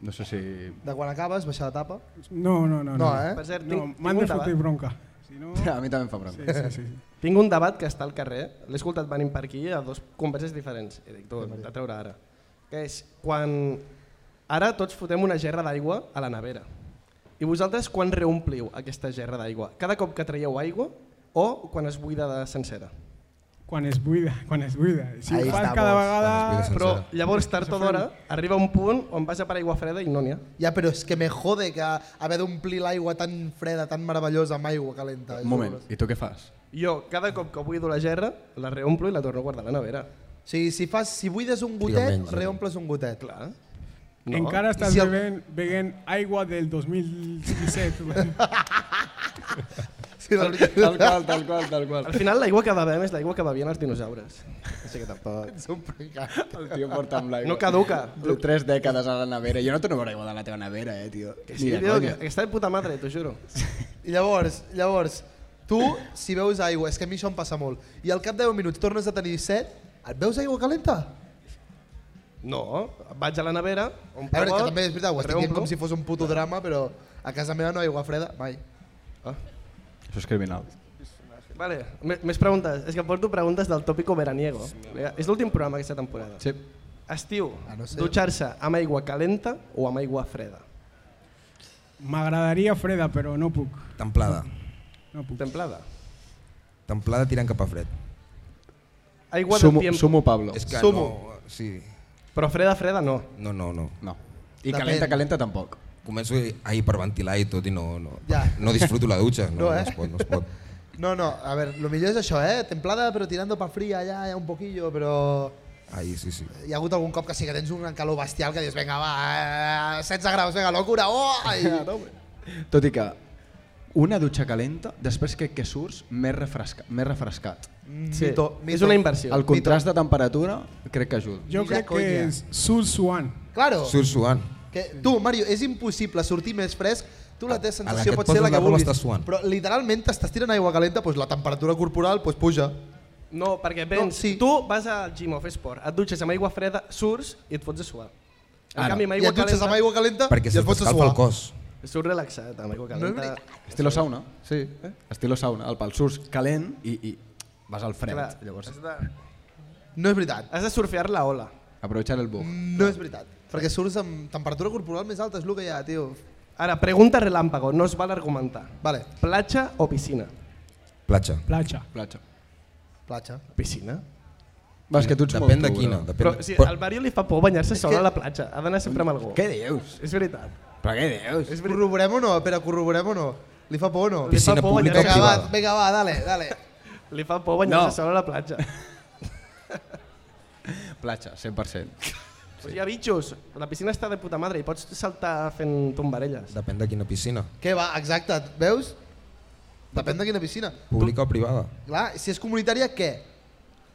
No sé si... De quan acabes, baixar la tapa. No, no, no. No, eh? Per cert, No, tinc, m'han tinc, de un fotre debat, bronca. Si no... Sí, A mi també em fa bronca. sí, sí. sí. tinc un debat que està al carrer, l'he escoltat venint per aquí a dos converses diferents, i dic, tu, de treure ara. Que és quan... Ara tots fotem una gerra d'aigua a la nevera. I vosaltres quan reompliu aquesta gerra d'aigua? Cada cop que traieu aigua o quan es buida de sencera? Quan es buida, quan es buida. Si Ahí ho fas estamos. cada Quan es vegada... buida Però Sencera. llavors, tard o d'hora, arriba un punt on vas a per aigua freda i no n'hi ha. Ja, però és que me jode que haver d'omplir l'aigua tan freda, tan meravellosa, amb aigua calenta. Un moment, i tu què fas? Jo, cada cop que buido la gerra, la reomplo i la torno a guardar a la nevera. O sigui, si, fas, si buides un Fica gotet, menys, reomples un gotet. Clar. No. Encara estàs si si el- bevent, bevent aigua del 2017. Sí, la veritat. qual, tal qual, tal qual. Al final l'aigua que bevem és l'aigua que bevien els dinosaures. Així que tampoc... Ets un precat. El tio porta amb l'aigua. No caduca. De Tres dècades a la nevera. Jo no torno a veure aigua de la teva nevera, eh, tio. Sí, de tio, que, conya. que està de puta madre, t'ho juro. I llavors, llavors, tu, si veus aigua, és que a mi això em passa molt, i al cap de 10 minuts tornes a tenir set, et veus aigua calenta? No, vaig a la nevera, un A veure, que pot, també és veritat, ho estic dient reomplo. com si fos un puto drama, però a casa meva no hi ha aigua freda, mai. Ah. Això és criminal. Vale, m- més preguntes. És que porto preguntes del tòpico veraniego. És l'últim programa aquesta temporada. Sí. Estiu, A Ah, no ser- dutxar-se amb aigua calenta o amb aigua freda? M'agradaria freda, però no puc. Templada. No puc. Templada. Templada tirant cap a fred. Aigua del Sumo, tiempo. sumo Pablo. És que Sumo. no... Sí. Però freda, freda no. No, no, no. No. I Depèn. calenta, calenta tampoc. Començo a hiperventilar i tot i no, no, Ja. no disfruto la dutxa. No, No, no, eh? no es pot, no es pot. No, no, a veure, lo millor és això, eh? Templada, però tirando pa fría, ja, ja, un poquillo, però... Ai, sí, sí. Hi ha hagut algun cop que sí que tens un calor bestial que dius, vinga, va, eh, 16 graus, vinga, locura, [LAUGHS] oh! Ai. Tot i que una dutxa calenta, després crec que surts més, refresca, més refrescat. Sí, Mm, Mito, mito. és una inversió. El contrast de temperatura crec que ajuda. Jo Mira, crec que conya. és Sul Suan. Claro, Surt suant. que, tu, Mario, és impossible sortir més fresc, tu la teva A- a la sensació que et pot ser poses la que la roba vulguis, estàs suant. però literalment t'estàs tirant aigua calenta, doncs la temperatura corporal doncs puja. No, perquè vens, sí. sí. tu vas al gym o a fer esport, et dutxes amb aigua freda, surts i et fots a suar. En Ara. canvi, amb I aigua et dutxes calenta, amb aigua calenta Perquè Ah, i se et fots a t'escalfa suar. el cos. surts relaxat, amb aigua calenta. Estilo sauna, sí. Eh? Estilo sauna. El pal surts calent i, i vas al fred. Clar, Llavors, has de, No és veritat. has de surfear la ola. aprovechar el bug. No és veritat. Perquè surts amb temperatura corporal més alta, és el que hi ha, tio. Ara, pregunta relàmpago, no es val argumentar. Vale, Platja o piscina? Platja. Platja. Platja. platja. Piscina. Vas, que tu ets Depèn molt de dur, quina. no? Depèn Però de- si però- al Mario li fa por banyar-se sol que- a la platja, ha d'anar sempre amb algú. Què dius? És veritat. Però què dius? És veritat. Corroborem o no? Pere, corroborem o no? Li fa por o no? Li fa Piscina por pública o Vinga, banyar-se va, privada? vinga, va, dale, dale. li fa por banyar-se No. sol a la platja. Platja, 100%. Pues hi ha bitxos. La piscina està de puta madre i pots saltar fent tombarelles. Depèn de quina piscina. Què va, exacte, veus? Depèn de quina piscina. Pública o privada. Clar, si és comunitària, què?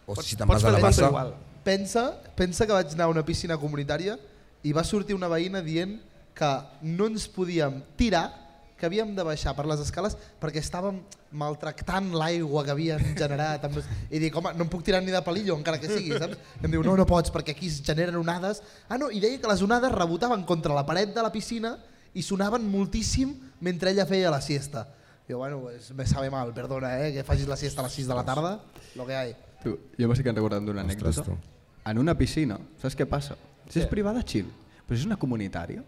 O si te'n pots vas a la fer-ho massa. igual. Pensa, pensa que vaig anar a una piscina comunitària i va sortir una veïna dient que no ens podíem tirar, que havíem de baixar per les escales perquè estàvem maltractant l'aigua que [LAUGHS] havien generat. Amb... I dic, home, no em puc tirar ni de palillo, encara que sigui, saps? I em diu, no, no pots, perquè aquí es generen onades. Ah, no, i deia que les onades rebotaven contra la paret de la piscina i sonaven moltíssim mentre ella feia la siesta. Diu, bueno, pues me sabe mal, perdona, eh, que facis la siesta a les 6 de la tarda, lo que hay. Tu, jo m'estic recordant d'una Ostres, anècdota. tu. En una piscina, saps què passa? Si és privada, chill. Però si és una comunitària,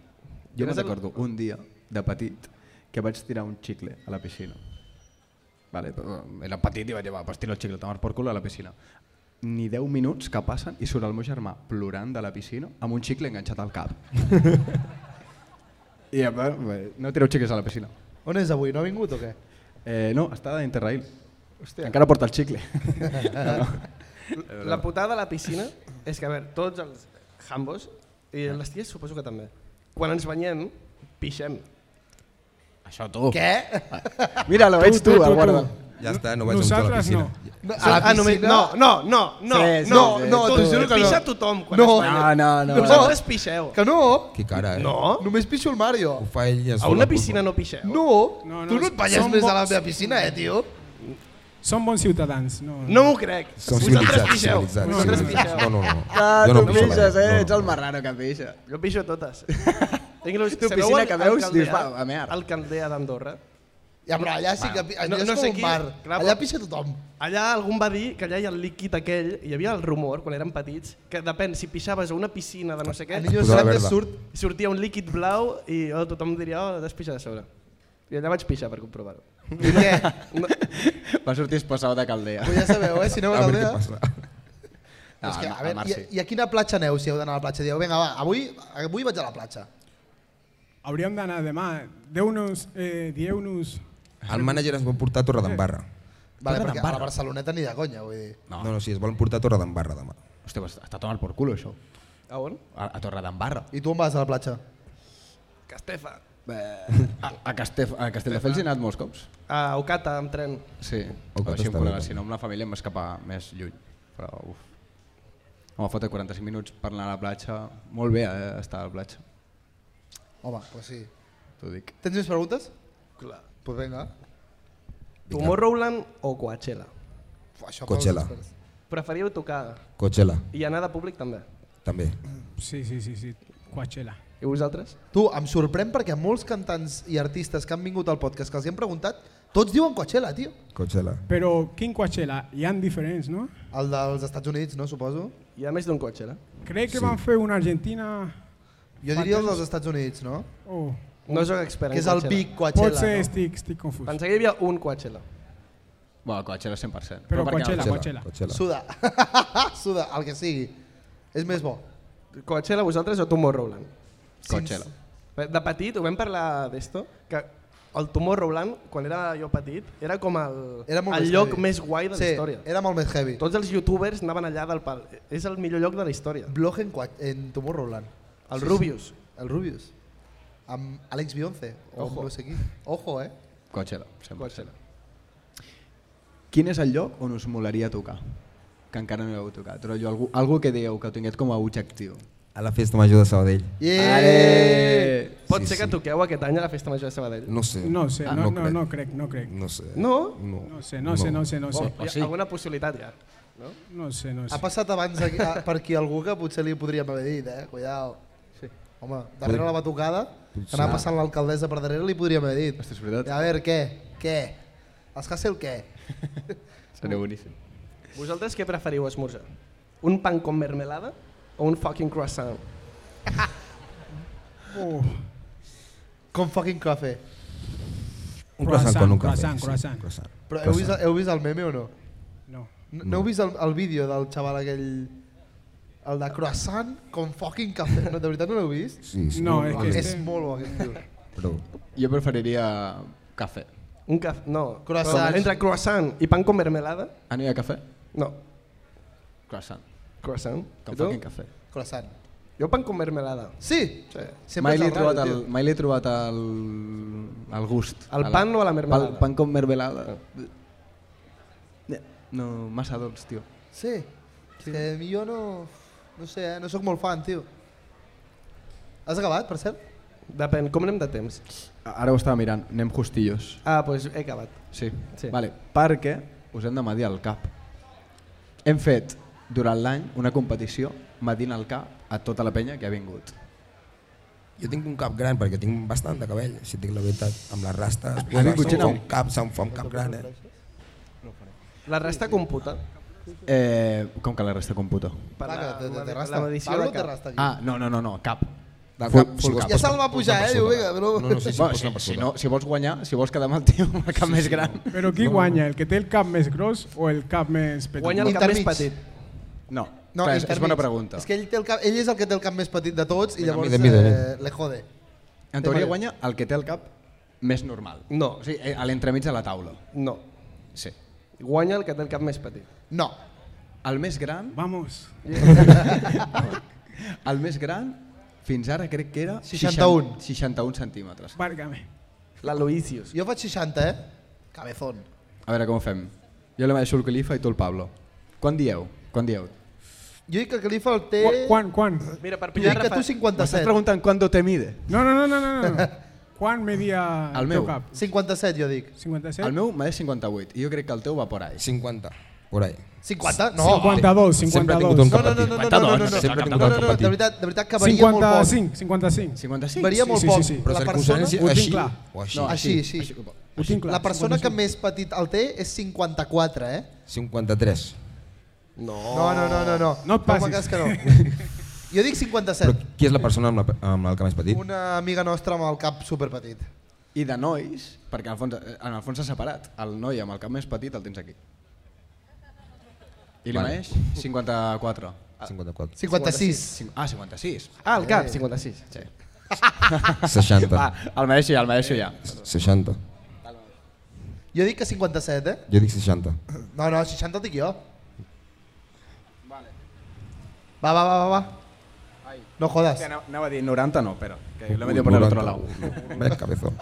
jo me'n recordo un dia, de petit, que vaig tirar un xicle a la piscina. Vale, però eh, era petit i vaig dir, va, pues tiro el xicle, tomar por culo a la piscina. Ni 10 minuts que passen i surt el meu germà plorant de la piscina amb un xicle enganxat al [LAUGHS] cap. I em va- bé, no tireu xicles a la piscina. On és avui? No ha vingut o què? Eh, no, està d'Interrail. Hòstia. Encara porta el xicle. no, no. La putada de la piscina és que, a veure, tots els hambos, i les ties suposo que també, quan ens banyem, pixem. Això tu. [LAUGHS] Què? Mira-lo, ets tu, el guarda. Ja està, no vaig amb tu a la Nosaltres piscina. no. No, Ah, només- no, no, no, no, Sí, sí, no, sí, no, sí, tu- t'ho juro que pixa no. tothom quan No, es banya. No, no, no. Vosaltres pixeu. Que no, Que cara, eh? No? només pixo el Mario. Ho fa ell i es A dona una culpa. piscina no pixeu. No, No, no, tu no et balles són més a la bons. meva piscina, eh, tio? Són bons ciutadans. No, No m'ho crec. Som Vosaltres civilitzats, pixeu. civilitzats, Vosaltres civilitzats. pixeu. No, no, no. Ah, Jo tu no pixo a la pixes, meva, eh? no, Ets el no. marrano que pixa. Jo pixo totes. Inclús, Tu, sabeu piscina el- que el veus, Caldea? dius, va, a mear. El Caldea d'Andorra. Ja, però allà sí que... pi- Allà No- no, no és sé com qui, un bar. clar, allà però- pixa tothom. Allà algú em va dir que allà hi ha el líquid aquell, hi havia el rumor, quan érem petits, que depèn, si pixaves a una piscina de no sé què, El niño posava grande verda. surt... sortia un líquid blau i oh, tothom diria, oh, has pixat a sobre. I allà vaig pixar per comprovar-ho. I què? No, Va sortir expulsat de Caldea. Pues ja sabeu, eh? Si [LAUGHS] aneu a A veure què l'aldea... passa. No, és que, a a veure, Mar i, sí. i a quina platja aneu si heu d'anar a la platja? Dieu, vinga, va, avui, avui vaig a la platja. Hauríem d'anar demà. Deu nos, eh, dieu nos El mànager ens vol portar a Torredembarra. Vale, perquè a la Barceloneta ni de conya, vull dir. No, no, sí, es volen portar a Torredembarra demà. Hòstia, pues, està tomant por culo, això. a on? A, a Torredembarra. I tu on vas a la platja? Castefa. Eh, a, a, Castef, a Castelldefels he anat molts cops. A Ocata, amb tren. Sí, O o que així està amb col·legues, bé, si no amb la família em va escapar més lluny. Però, uf. Home, fot 45 minuts per anar a la platja. Molt bé, eh, estar a la platja, Home, pues sí. t'ho dic. Tens més preguntes? Clar. Pues vinga. Tomorrowland o Coachella? Uf, Això Coachella. fa uns experts. Preferiu tocar Coachella, i anar de públic també. també. Sí, sí, sí, sí. Coachella. I vosaltres? Tu, em sorprèn perquè molts cantants i artistes que han vingut al podcast que els hi hem preguntat, tots diuen Coachella, tio. Coachella. Però quin Coachella? Hi han diferents, no? El dels Estats Units, no, suposo? Hi ha més d'un Coachella. Crec que Sí. van fer una Argentina... Jo diria el dels Estats Units, no? Oh. No sóc expert en Que és el Coachella. pic Coachella, Potser no? estic, estic confús. Pensava que hi havia un Coachella. Bueno, Coachella 100%. per què Però no? Coachella, Coachella. Coachella. Suda. Suda, [LAUGHS] el que sigui. És més bo. Coachella vosaltres o Tomorrowland? Coachella. Bé, De petit ho vam parlar d'esto, que el Tomorrowland, quan era jo petit, era com el, Era molt el més lloc heavy. més guai de la sí, història. era molt més heavy. Tot... Tots els youtubers anaven allà del pal. És el millor lloc de la història. Blog en, Coach- en Tomorrowland. El Rubius. El Rubius. Amb Alex Bionce. O Ojo. Ojo. no sé qui. Ojo, eh? Coachella, 100%. Coachella. Quin és el lloc on us molaria tocar? Que encara no hi heu tocat. Però allò, algú, algú que dieu, que ho tinguet com a objectiu. A la festa major de Sabadell. Eh! Yeah! Pot Sí, ser que sí. toqueu aquest any a la Festa Major de Sabadell? No sé. No sé, Ah, no, no, no crec, no crec. No sé. No? No sé, no sé, no sé, no sé. Hi ha alguna possibilitat ja. No? No sé, no Ha sé. passat abans aquí, a, per aquí algú que potser li podríem haver dit, eh? Cuidao. Sí. Home, darrere la batucada, que Potser. anava passant l'alcaldessa per darrere, li podríem haver dit. Hòstia, és veritat. A veure, què? Què? Els Hassel què? Seria boníssim. Vosaltres què preferiu esmorzar? Un pan con mermelada o un fucking croissant? Oh. Com fucking cafè. Un croissant con un cafè. Croissant, sí, croissant. Però heu vist, heu vist el meme o no? No. No, no heu vist el, el vídeo del xaval aquell... El de croissant com fucking cafè. No, de veritat no l'heu vist? Sí, sí, No, un és que cafè. És Este- molt bo aquest tio. Però Jo preferiria cafè. Un cafè, no. Croissants. Però Entre croissant i pan con mermelada, Aniria a cafè? no. Croissant. Croissant. Com I tu? fucking cafè. Croissant. Jo pan con mermelada. Sí! Sí. Sempre Mai és li, he el raro, trobat el, tio. mai li he trobat el, el gust. Al A pan o a la mermelada? Pal, pan con mermelada. Eh, No, massa dolç, tio. Sí. sí. Que millor no... No sé, eh? no sóc molt fan, tio. Has acabat, per cert? Depèn, com anem de temps? Ara ho estava mirant, anem justillos. Ah, doncs he acabat. Sí. Sí. Vale, perquè us hem de medir al cap. Hem fet durant l'any una competició medint el cap a tota la penya que ha vingut. jo tinc un cap gran perquè tinc bastant de cabell, si tinc la veritat, amb les rastes. Ha vingut gent se'm fa amb- un cap, se'm fa un cap gran, eh? La resta computa. Eh, com que la resta computa? Per Clar, la, que de, de, la- de la rasta. medició Pablo de te cap. rasta aquí. Ah, no, no, no, no cap. Del Full- cap, full sí, cap. Ja se'l va pujar, eh? Diu, vinga, però... No, no, [LAUGHS] sí, sí, Bueno, pots si, anar per si, sobre. no, si vols guanyar, si vols quedar amb el tio amb el cap sí, més gran... Però qui guanya, el que té el cap més gros o el cap més petit? Guanya el cap més Intermig. petit. No, no clar, és, és bona intermig. pregunta. És que ell, té el cap, ell és el que té el cap més petit de tots i Vinga, llavors mida, mida, eh, le jode. En teoria guanya el que té el cap més normal. No. O sigui, eh, a l'entremig de la taula. No. Sí. Guanya el que té el cap més petit. No. El més gran, Vamos. el més gran fins ara crec que era 61. 61 centímetres. Várgame. L'Aloisius. Jo faig 60, eh? Cabezón. A veure com ho fem. Jo la mateixa el Califa i tu el Pablo. Quan dieu? Quan dieu? Jo dic que el Califa el té... Quan, quan, quan? Mira, per Tu pillar dic que tu M'estàs 57. preguntant quan te mide? No, no, no, no, no. [LAUGHS] no. Quan media El el, meu. teu cap? 57, jo dic. 57? El meu m'ha de 58 i jo crec que el teu va por ahí. 50, por ahí. 50? No. 52, Sempre he tingut un No, cap 52. no, petit. no, no, no, no, no, no. Sempre he No, no, no, tingut un cap no, de petit. veritat, de veritat que varia molt poc. 55, 55. 55? Varia Sí, molt sí, poc. sí, sí. Però La circumferència Ho tinc així clar. o així. No, així, així. Ho tinc clar. La persona que més petit el té és 54, eh? 53. No, no, no, no. No, No et home, passis. que és que [LAUGHS] no. Jo dic Però 57. qui és la persona amb, la, amb el cap més petit? Una amiga nostra amb el cap superpetit. I de nois, perquè en el fons, en el fons s'ha separat, el noi amb el cap més petit el tens aquí. I Vale. l'Imaeix, 54. 54. 56. Cin- Ah, 56. Ah, el Eh. cap, 56. Sí. 60. Va, Ah, el mereixo ja, el mereixo ja. 60. Jo dic que 57, eh? Jo dic 60. No, no, 60 dic jo. Va, va, va, va, va. No jodas. Ja, anava- Anava a dir 90 no, però que l'he Ui, metit per l'altre 90. lado. Vaya cabezón.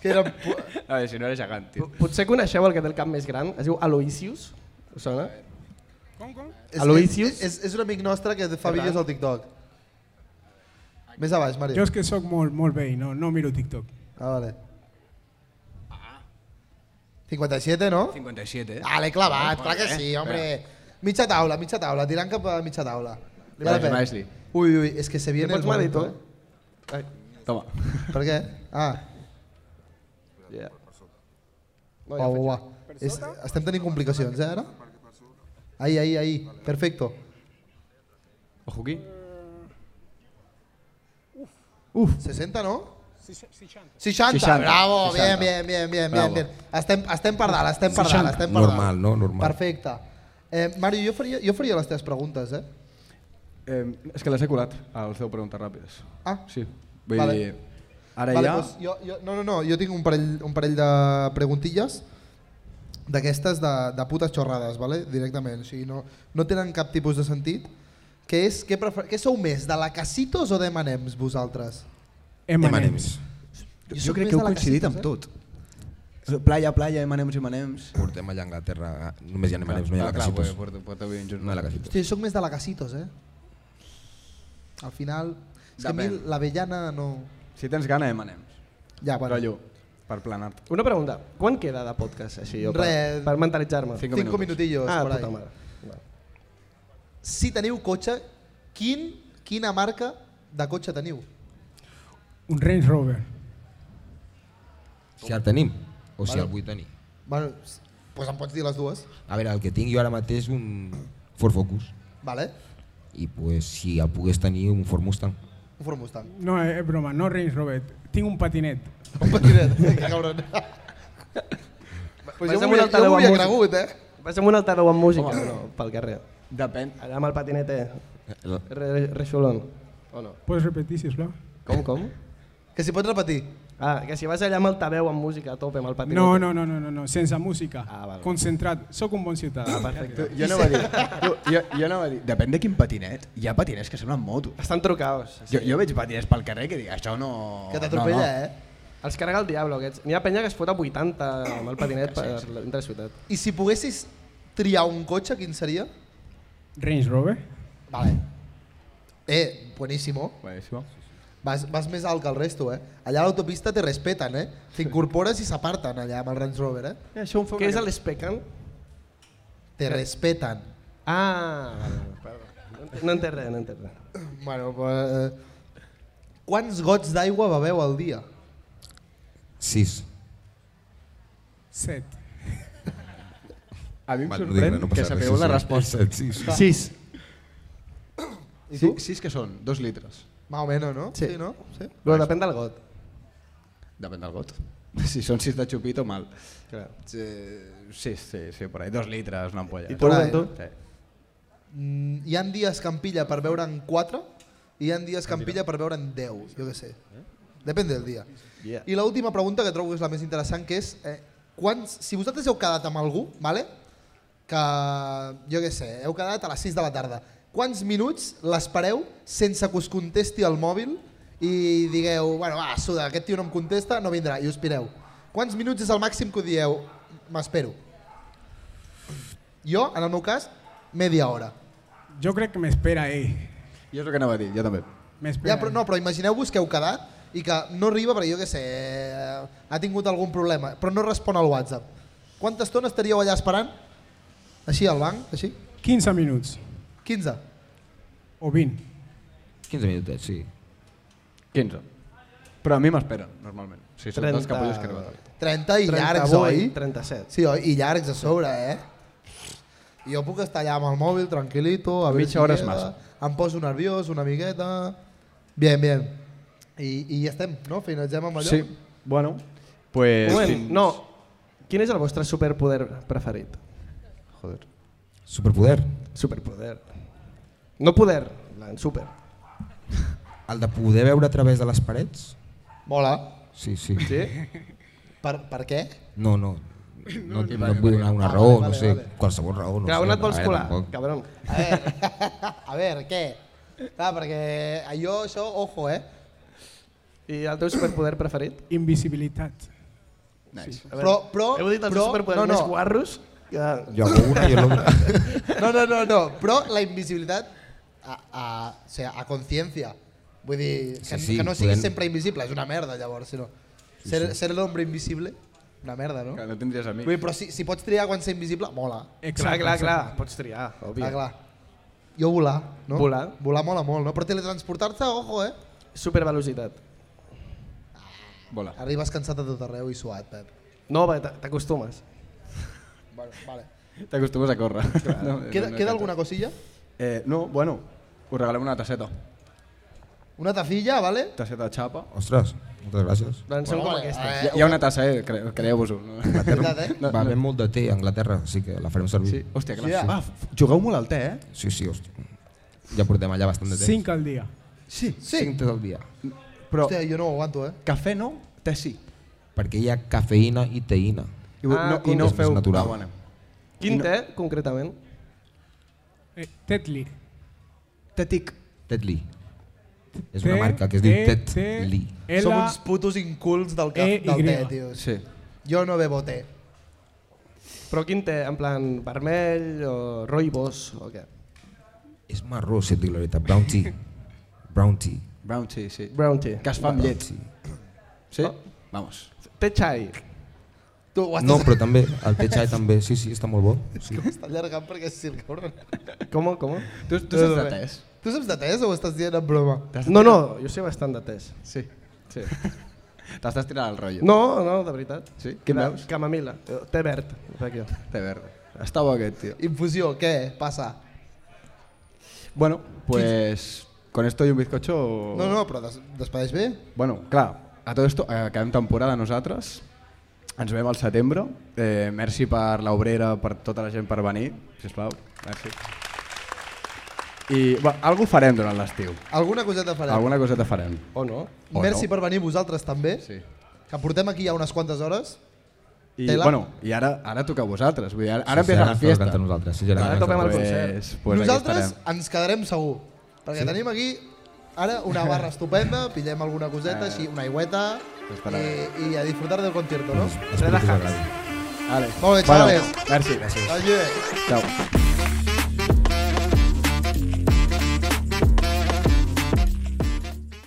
Que era... pu- A veure, si no era gegant, tio. P- Potser coneixeu el que té el cap més gran, es diu Aloisius. Us sona? és- Aloysius? És, és, és un amic nostre que fa vídeos al TikTok. Més a baix, Jo Mario. és que sóc molt, molt vell, no, no miro TikTok. Ah, vale. 57, no? 57, eh? Ah, l'he clavat, clar que sí, home. Mitja taula, mitja taula, tirant cap a mitja taula. Li Vale, la pena. Maesli. Ui, ui, és que se Te viene pots el madir, tu, momento, eh? Toma. eh? Per què? Ah, Yeah. no, uau, uau, uau. oh, És, estem tenint complicacions, eh, ara? Ahí, ahí, ahí, perfecto. Ojo aquí. 60, no? 60. 60, 60, bravo, 60. bien, bien, bien, bien, Bravo. bien, bien. Estem, estem per dalt, estem per dalt, estem per dalt. Normal, no? Normal. Perfecte. Eh, Mario, jo faria, jo faria les teves preguntes, eh? Eh, és que les he colat, els 10 preguntes ràpides. Ah, Sí, vull Vale. vale. dir... Ara vale, ja... doncs jo, jo, no, no, no, jo tinc un parell, un parell de preguntilles d'aquestes de, de putes xorrades, vale? directament. O sigui, no, no tenen cap tipus de sentit. Què, és, què, prefer, què sou més, de la Casitos o de Manems, vosaltres? M&M's. Jo, soc crec més que heu de la coincidit amb Casitos, tot. Playa, playa, emanems, emanems... Portem allà a Anglaterra, només hi ha manems, Ah, no hi ha la Casitos. No hi ha la Casitos. eh? Casitos. Hosti, jo soc més de la Casitos, eh? Al final... És que a mi Depèn. l'avellana no... Si tens gana, emanems. Ja, bueno. Rotllo, per planar-te. Una pregunta, quan queda de podcast així jo per, Res. per mentalitzar-me? Cinc 5 minutos. minutillos. Ah, por ahí. puta mare. Va. Si teniu cotxe, quin, quina marca de cotxe teniu? Un Range Rover. Si el tenim, o si el vull tenir. Bueno, s- pues em pots dir les dues. A veure, el que tinc jo ara mateix un Ford Focus. Vale? I pues, si el pogués tenir, un Ford Mustang. Un Ford Mustang. No, eh, és, és broma, no Range Rover. Tinc un patinet. Un patinet, eh, que cabron. pues Vas jo amb m'ho un havia- jo altaveu m'ho havia amb cregut, eh? Vas amb un altador amb música no, pel carrer. Depèn. Allà amb el patinet, eh? El- Re, re, reixolón. O no? Pots repetir, sisplau? Com, com? Que si pots repetir. Ah, que si vas allà amb altaveu amb música a tope amb el patinet. No, no, no, no, no, no, sense música. Ah, val. Concentrat. Sóc un bon ciutadà. Ah, perfecte. Jo anava a dir, tu, jo, jo anava a dir, depèn de quin patinet. Hi ha patinets que semblen motos. Estan trucaos. Jo, jo veig patinets pel carrer que dic, això no... Que t'atropella, Oh, no, eh? Els carrega el diablo, aquests. N'hi ha penya que es fot a 80 amb el patinet per dintre la ciutat. I si poguessis triar un cotxe, quin seria? Range Rover? Vale. Eh, buenísimo. no. Buenísimo. Vas, vas més alt que el resto, eh? Allà a l'autopista te respeten, eh? T'incorpores i s'aparten allà amb el Range Rover, eh? Això em fa Què és l'especan? Te respeten. Ah, vale, vale, perdó. No ent- No entenc res, no entenc res. Bueno, pues, eh, quants gots d'aigua beveu al dia? Sis. Set. A mi em Vale, no dic sorprèn res, no passa que res, sapigueu sí, la sí. resposta. Set, sis. Sis. I Sí, tu? sis que són, dos litres. Más o menos, no? Sí. no? Sí. Però depèn del got. Depèn del got. [LAUGHS] Si són sis de xupito, mal. Clar. Eh, Sí, sí, sí, por ahí. Dos litres, una ampolla. I tu, Por ahí, Bento? Sí. Mm, hi ha dies que em pilla per veure en 4 i hi ha dies que em pilla per veure en 10, jo què sé. Depèn del dia. Yeah. I l'última pregunta que trobo que és la més interessant, que és eh, quants, si vosaltres heu quedat amb algú, vale? que jo què sé, heu quedat a les 6 de la tarda, quants minuts l'espereu sense que us contesti el mòbil i digueu, bueno, va, suda, aquest tio no em contesta, no vindrà, i us pireu. Quants minuts és el màxim que ho dieu? M'espero. Jo, en el meu cas, media hora. Jo crec que m'espera ell. Jo és el que anava a dir, jo també. Eh. M'espera Ja, però, no, però imagineu-vos que heu quedat i que no arriba perquè jo què sé, eh, ha tingut algun problema, però no respon al WhatsApp. Quanta estona estaríeu allà esperant? Així al banc, així? ell. 15 minuts. 15. O 20. 15 minutets, sí. 15. Però a mi m'esperen, normalment. Si són dels que puguis que arribar. 30 i llargs, 38, oi? 37. Sí, oi? I llargs a sobre, eh? Jo puc estar allà amb el mòbil, tranquil·lito, a veure Mitja hora és llega, massa. Em poso nerviós una miqueta... Bien, bien. I, i ja estem, no? Finalitzem amb allò. Sí, bueno, pues... Un moment, no. Quin és el vostre superpoder preferit? Joder. Superpoder. Superpoder. No poder, en plan, super. El de poder veure a través de les parets? Mola. Sí, sí. [LAUGHS] Sí? Per, per què? No, no. No, no, et vull donar una raó, no sé, qualsevol raó. No Clar, sé, on et vols a veure, colar, tampoc. cabron? A veure, [LAUGHS] a veure què? Clar, perquè allò, això, ojo, eh? I el teu superpoder preferit? Invisibilitat. Nice. A veure, Però- però- Heu dit els però- dos superpoders no, no. més guarros? Que... Jo hago una i l'altra. [LAUGHS] No, no, no, no. Però la invisibilitat a, a, o sigui, a consciència. Vull dir, que, Sí, sí, que no siguis podem- sempre invisible, és una merda llavors, si no. Ser, ser l'hombre invisible, una merda, no? Que no tindries amics. Vull dir, però si, si pots triar quan ser invisible, mola. Clar, clar, clar. exacte. Pots triar, òbvia. Clar, clar. Jo volar, no? Volar. Volar mola molt, no? Però teletransportar-te, ojo, eh? Supervelocitat. Vola. Arribes cansat a tot arreu i suat, Pep. No, va, t- t'acostumes. Bueno, vale. T'acostumes a córrer. [LAUGHS] No, Queda, no, queda no, alguna cosilla? Eh, no, bueno, us regalem una tasseta. Una tafilla, vale? Tasseta de xapa. Ostres, moltes gràcies. Doncs som Bueno, com vale, aquesta. eh, Hi, hi ha una tassa, eh, cre creieu-vos-ho. No? Veritat, eh? Va haver molt de té a Anglaterra, així que la farem servir. Sí, hòstia, clar. Sí. Ah, f- jugueu molt al té, eh? Sí, sí, hòstia. Ja portem allà bastant de temps. 5 al dia. Sí, Cinc tot el dia. però Hòstia, jo no ho aguanto, eh? cafè no, té sí. Perquè hi ha cafeïna i teïna. I, vo- Ah, no, i no és més feu... natural. Ah, bueno. Quin té, concretament? Eh, Tetli. Tetic. Ted Lee. És una marca que es diu Ted Lee. Som L, uns putos incults del, cap, E, del Y. té, tios. Sí. Jo no bebo té. Però quin té, en plan vermell o roibos o què? És marró, si et dic la veritat. Brown tea. Brown tea. Brown tea, sí. Brown tea. Que es fa amb Brown llet. tea. Sí? Vamos. Té xai. Tu ho estàs No, però també, el té xai també, sí, sí, està molt bo. Sí. Està allargant perquè sí, el cabron. Com, com? Tu, tu saps de tes? Tu saps de tes o ho estàs dient en broma? No, no, jo sé bastant de tes. Sí. [LAUGHS] sí. T'estàs tirant el rotllo. No, no, de veritat. Sí? Quin De- veus? Camamila. Eh, Té verd. Fac jo. Té verd. Està bo aquest, tio. Infusió, què? Passa. Bueno, pues... Con esto y un bizcocho... No, no, però des despedeix bé. Bueno, clar, a tot esto eh, acabem temporada nosaltres, ens veiem al setembre. Eh, merci per l'obrera, per tota la gent per venir, sisplau. Merci. I bueno, alguna farem durant l'estiu. Alguna coseta farem. Alguna coseta farem. O no? o Merci no. per venir vosaltres també, Sí. que portem aquí ja unes quantes hores. I, Tela. bueno, i ara, ara toca a vosaltres. Vull dir, ara, ara Sí, empieza serà la el fiesta. Entre nosaltres. Sí, serà Ara el toquem el Restaurant. Pues, pues aquí Nosaltres estarem. ens quedarem segur, perquè tenim aquí ara una barra estupenda, pillem alguna Eh. coseta, així, una aigüeta, estarà i, i a disfrutar del concierto, no? Espero que us agradi. Molt bé, Bueno, xavales. merci, gràcies. Vale. Chao.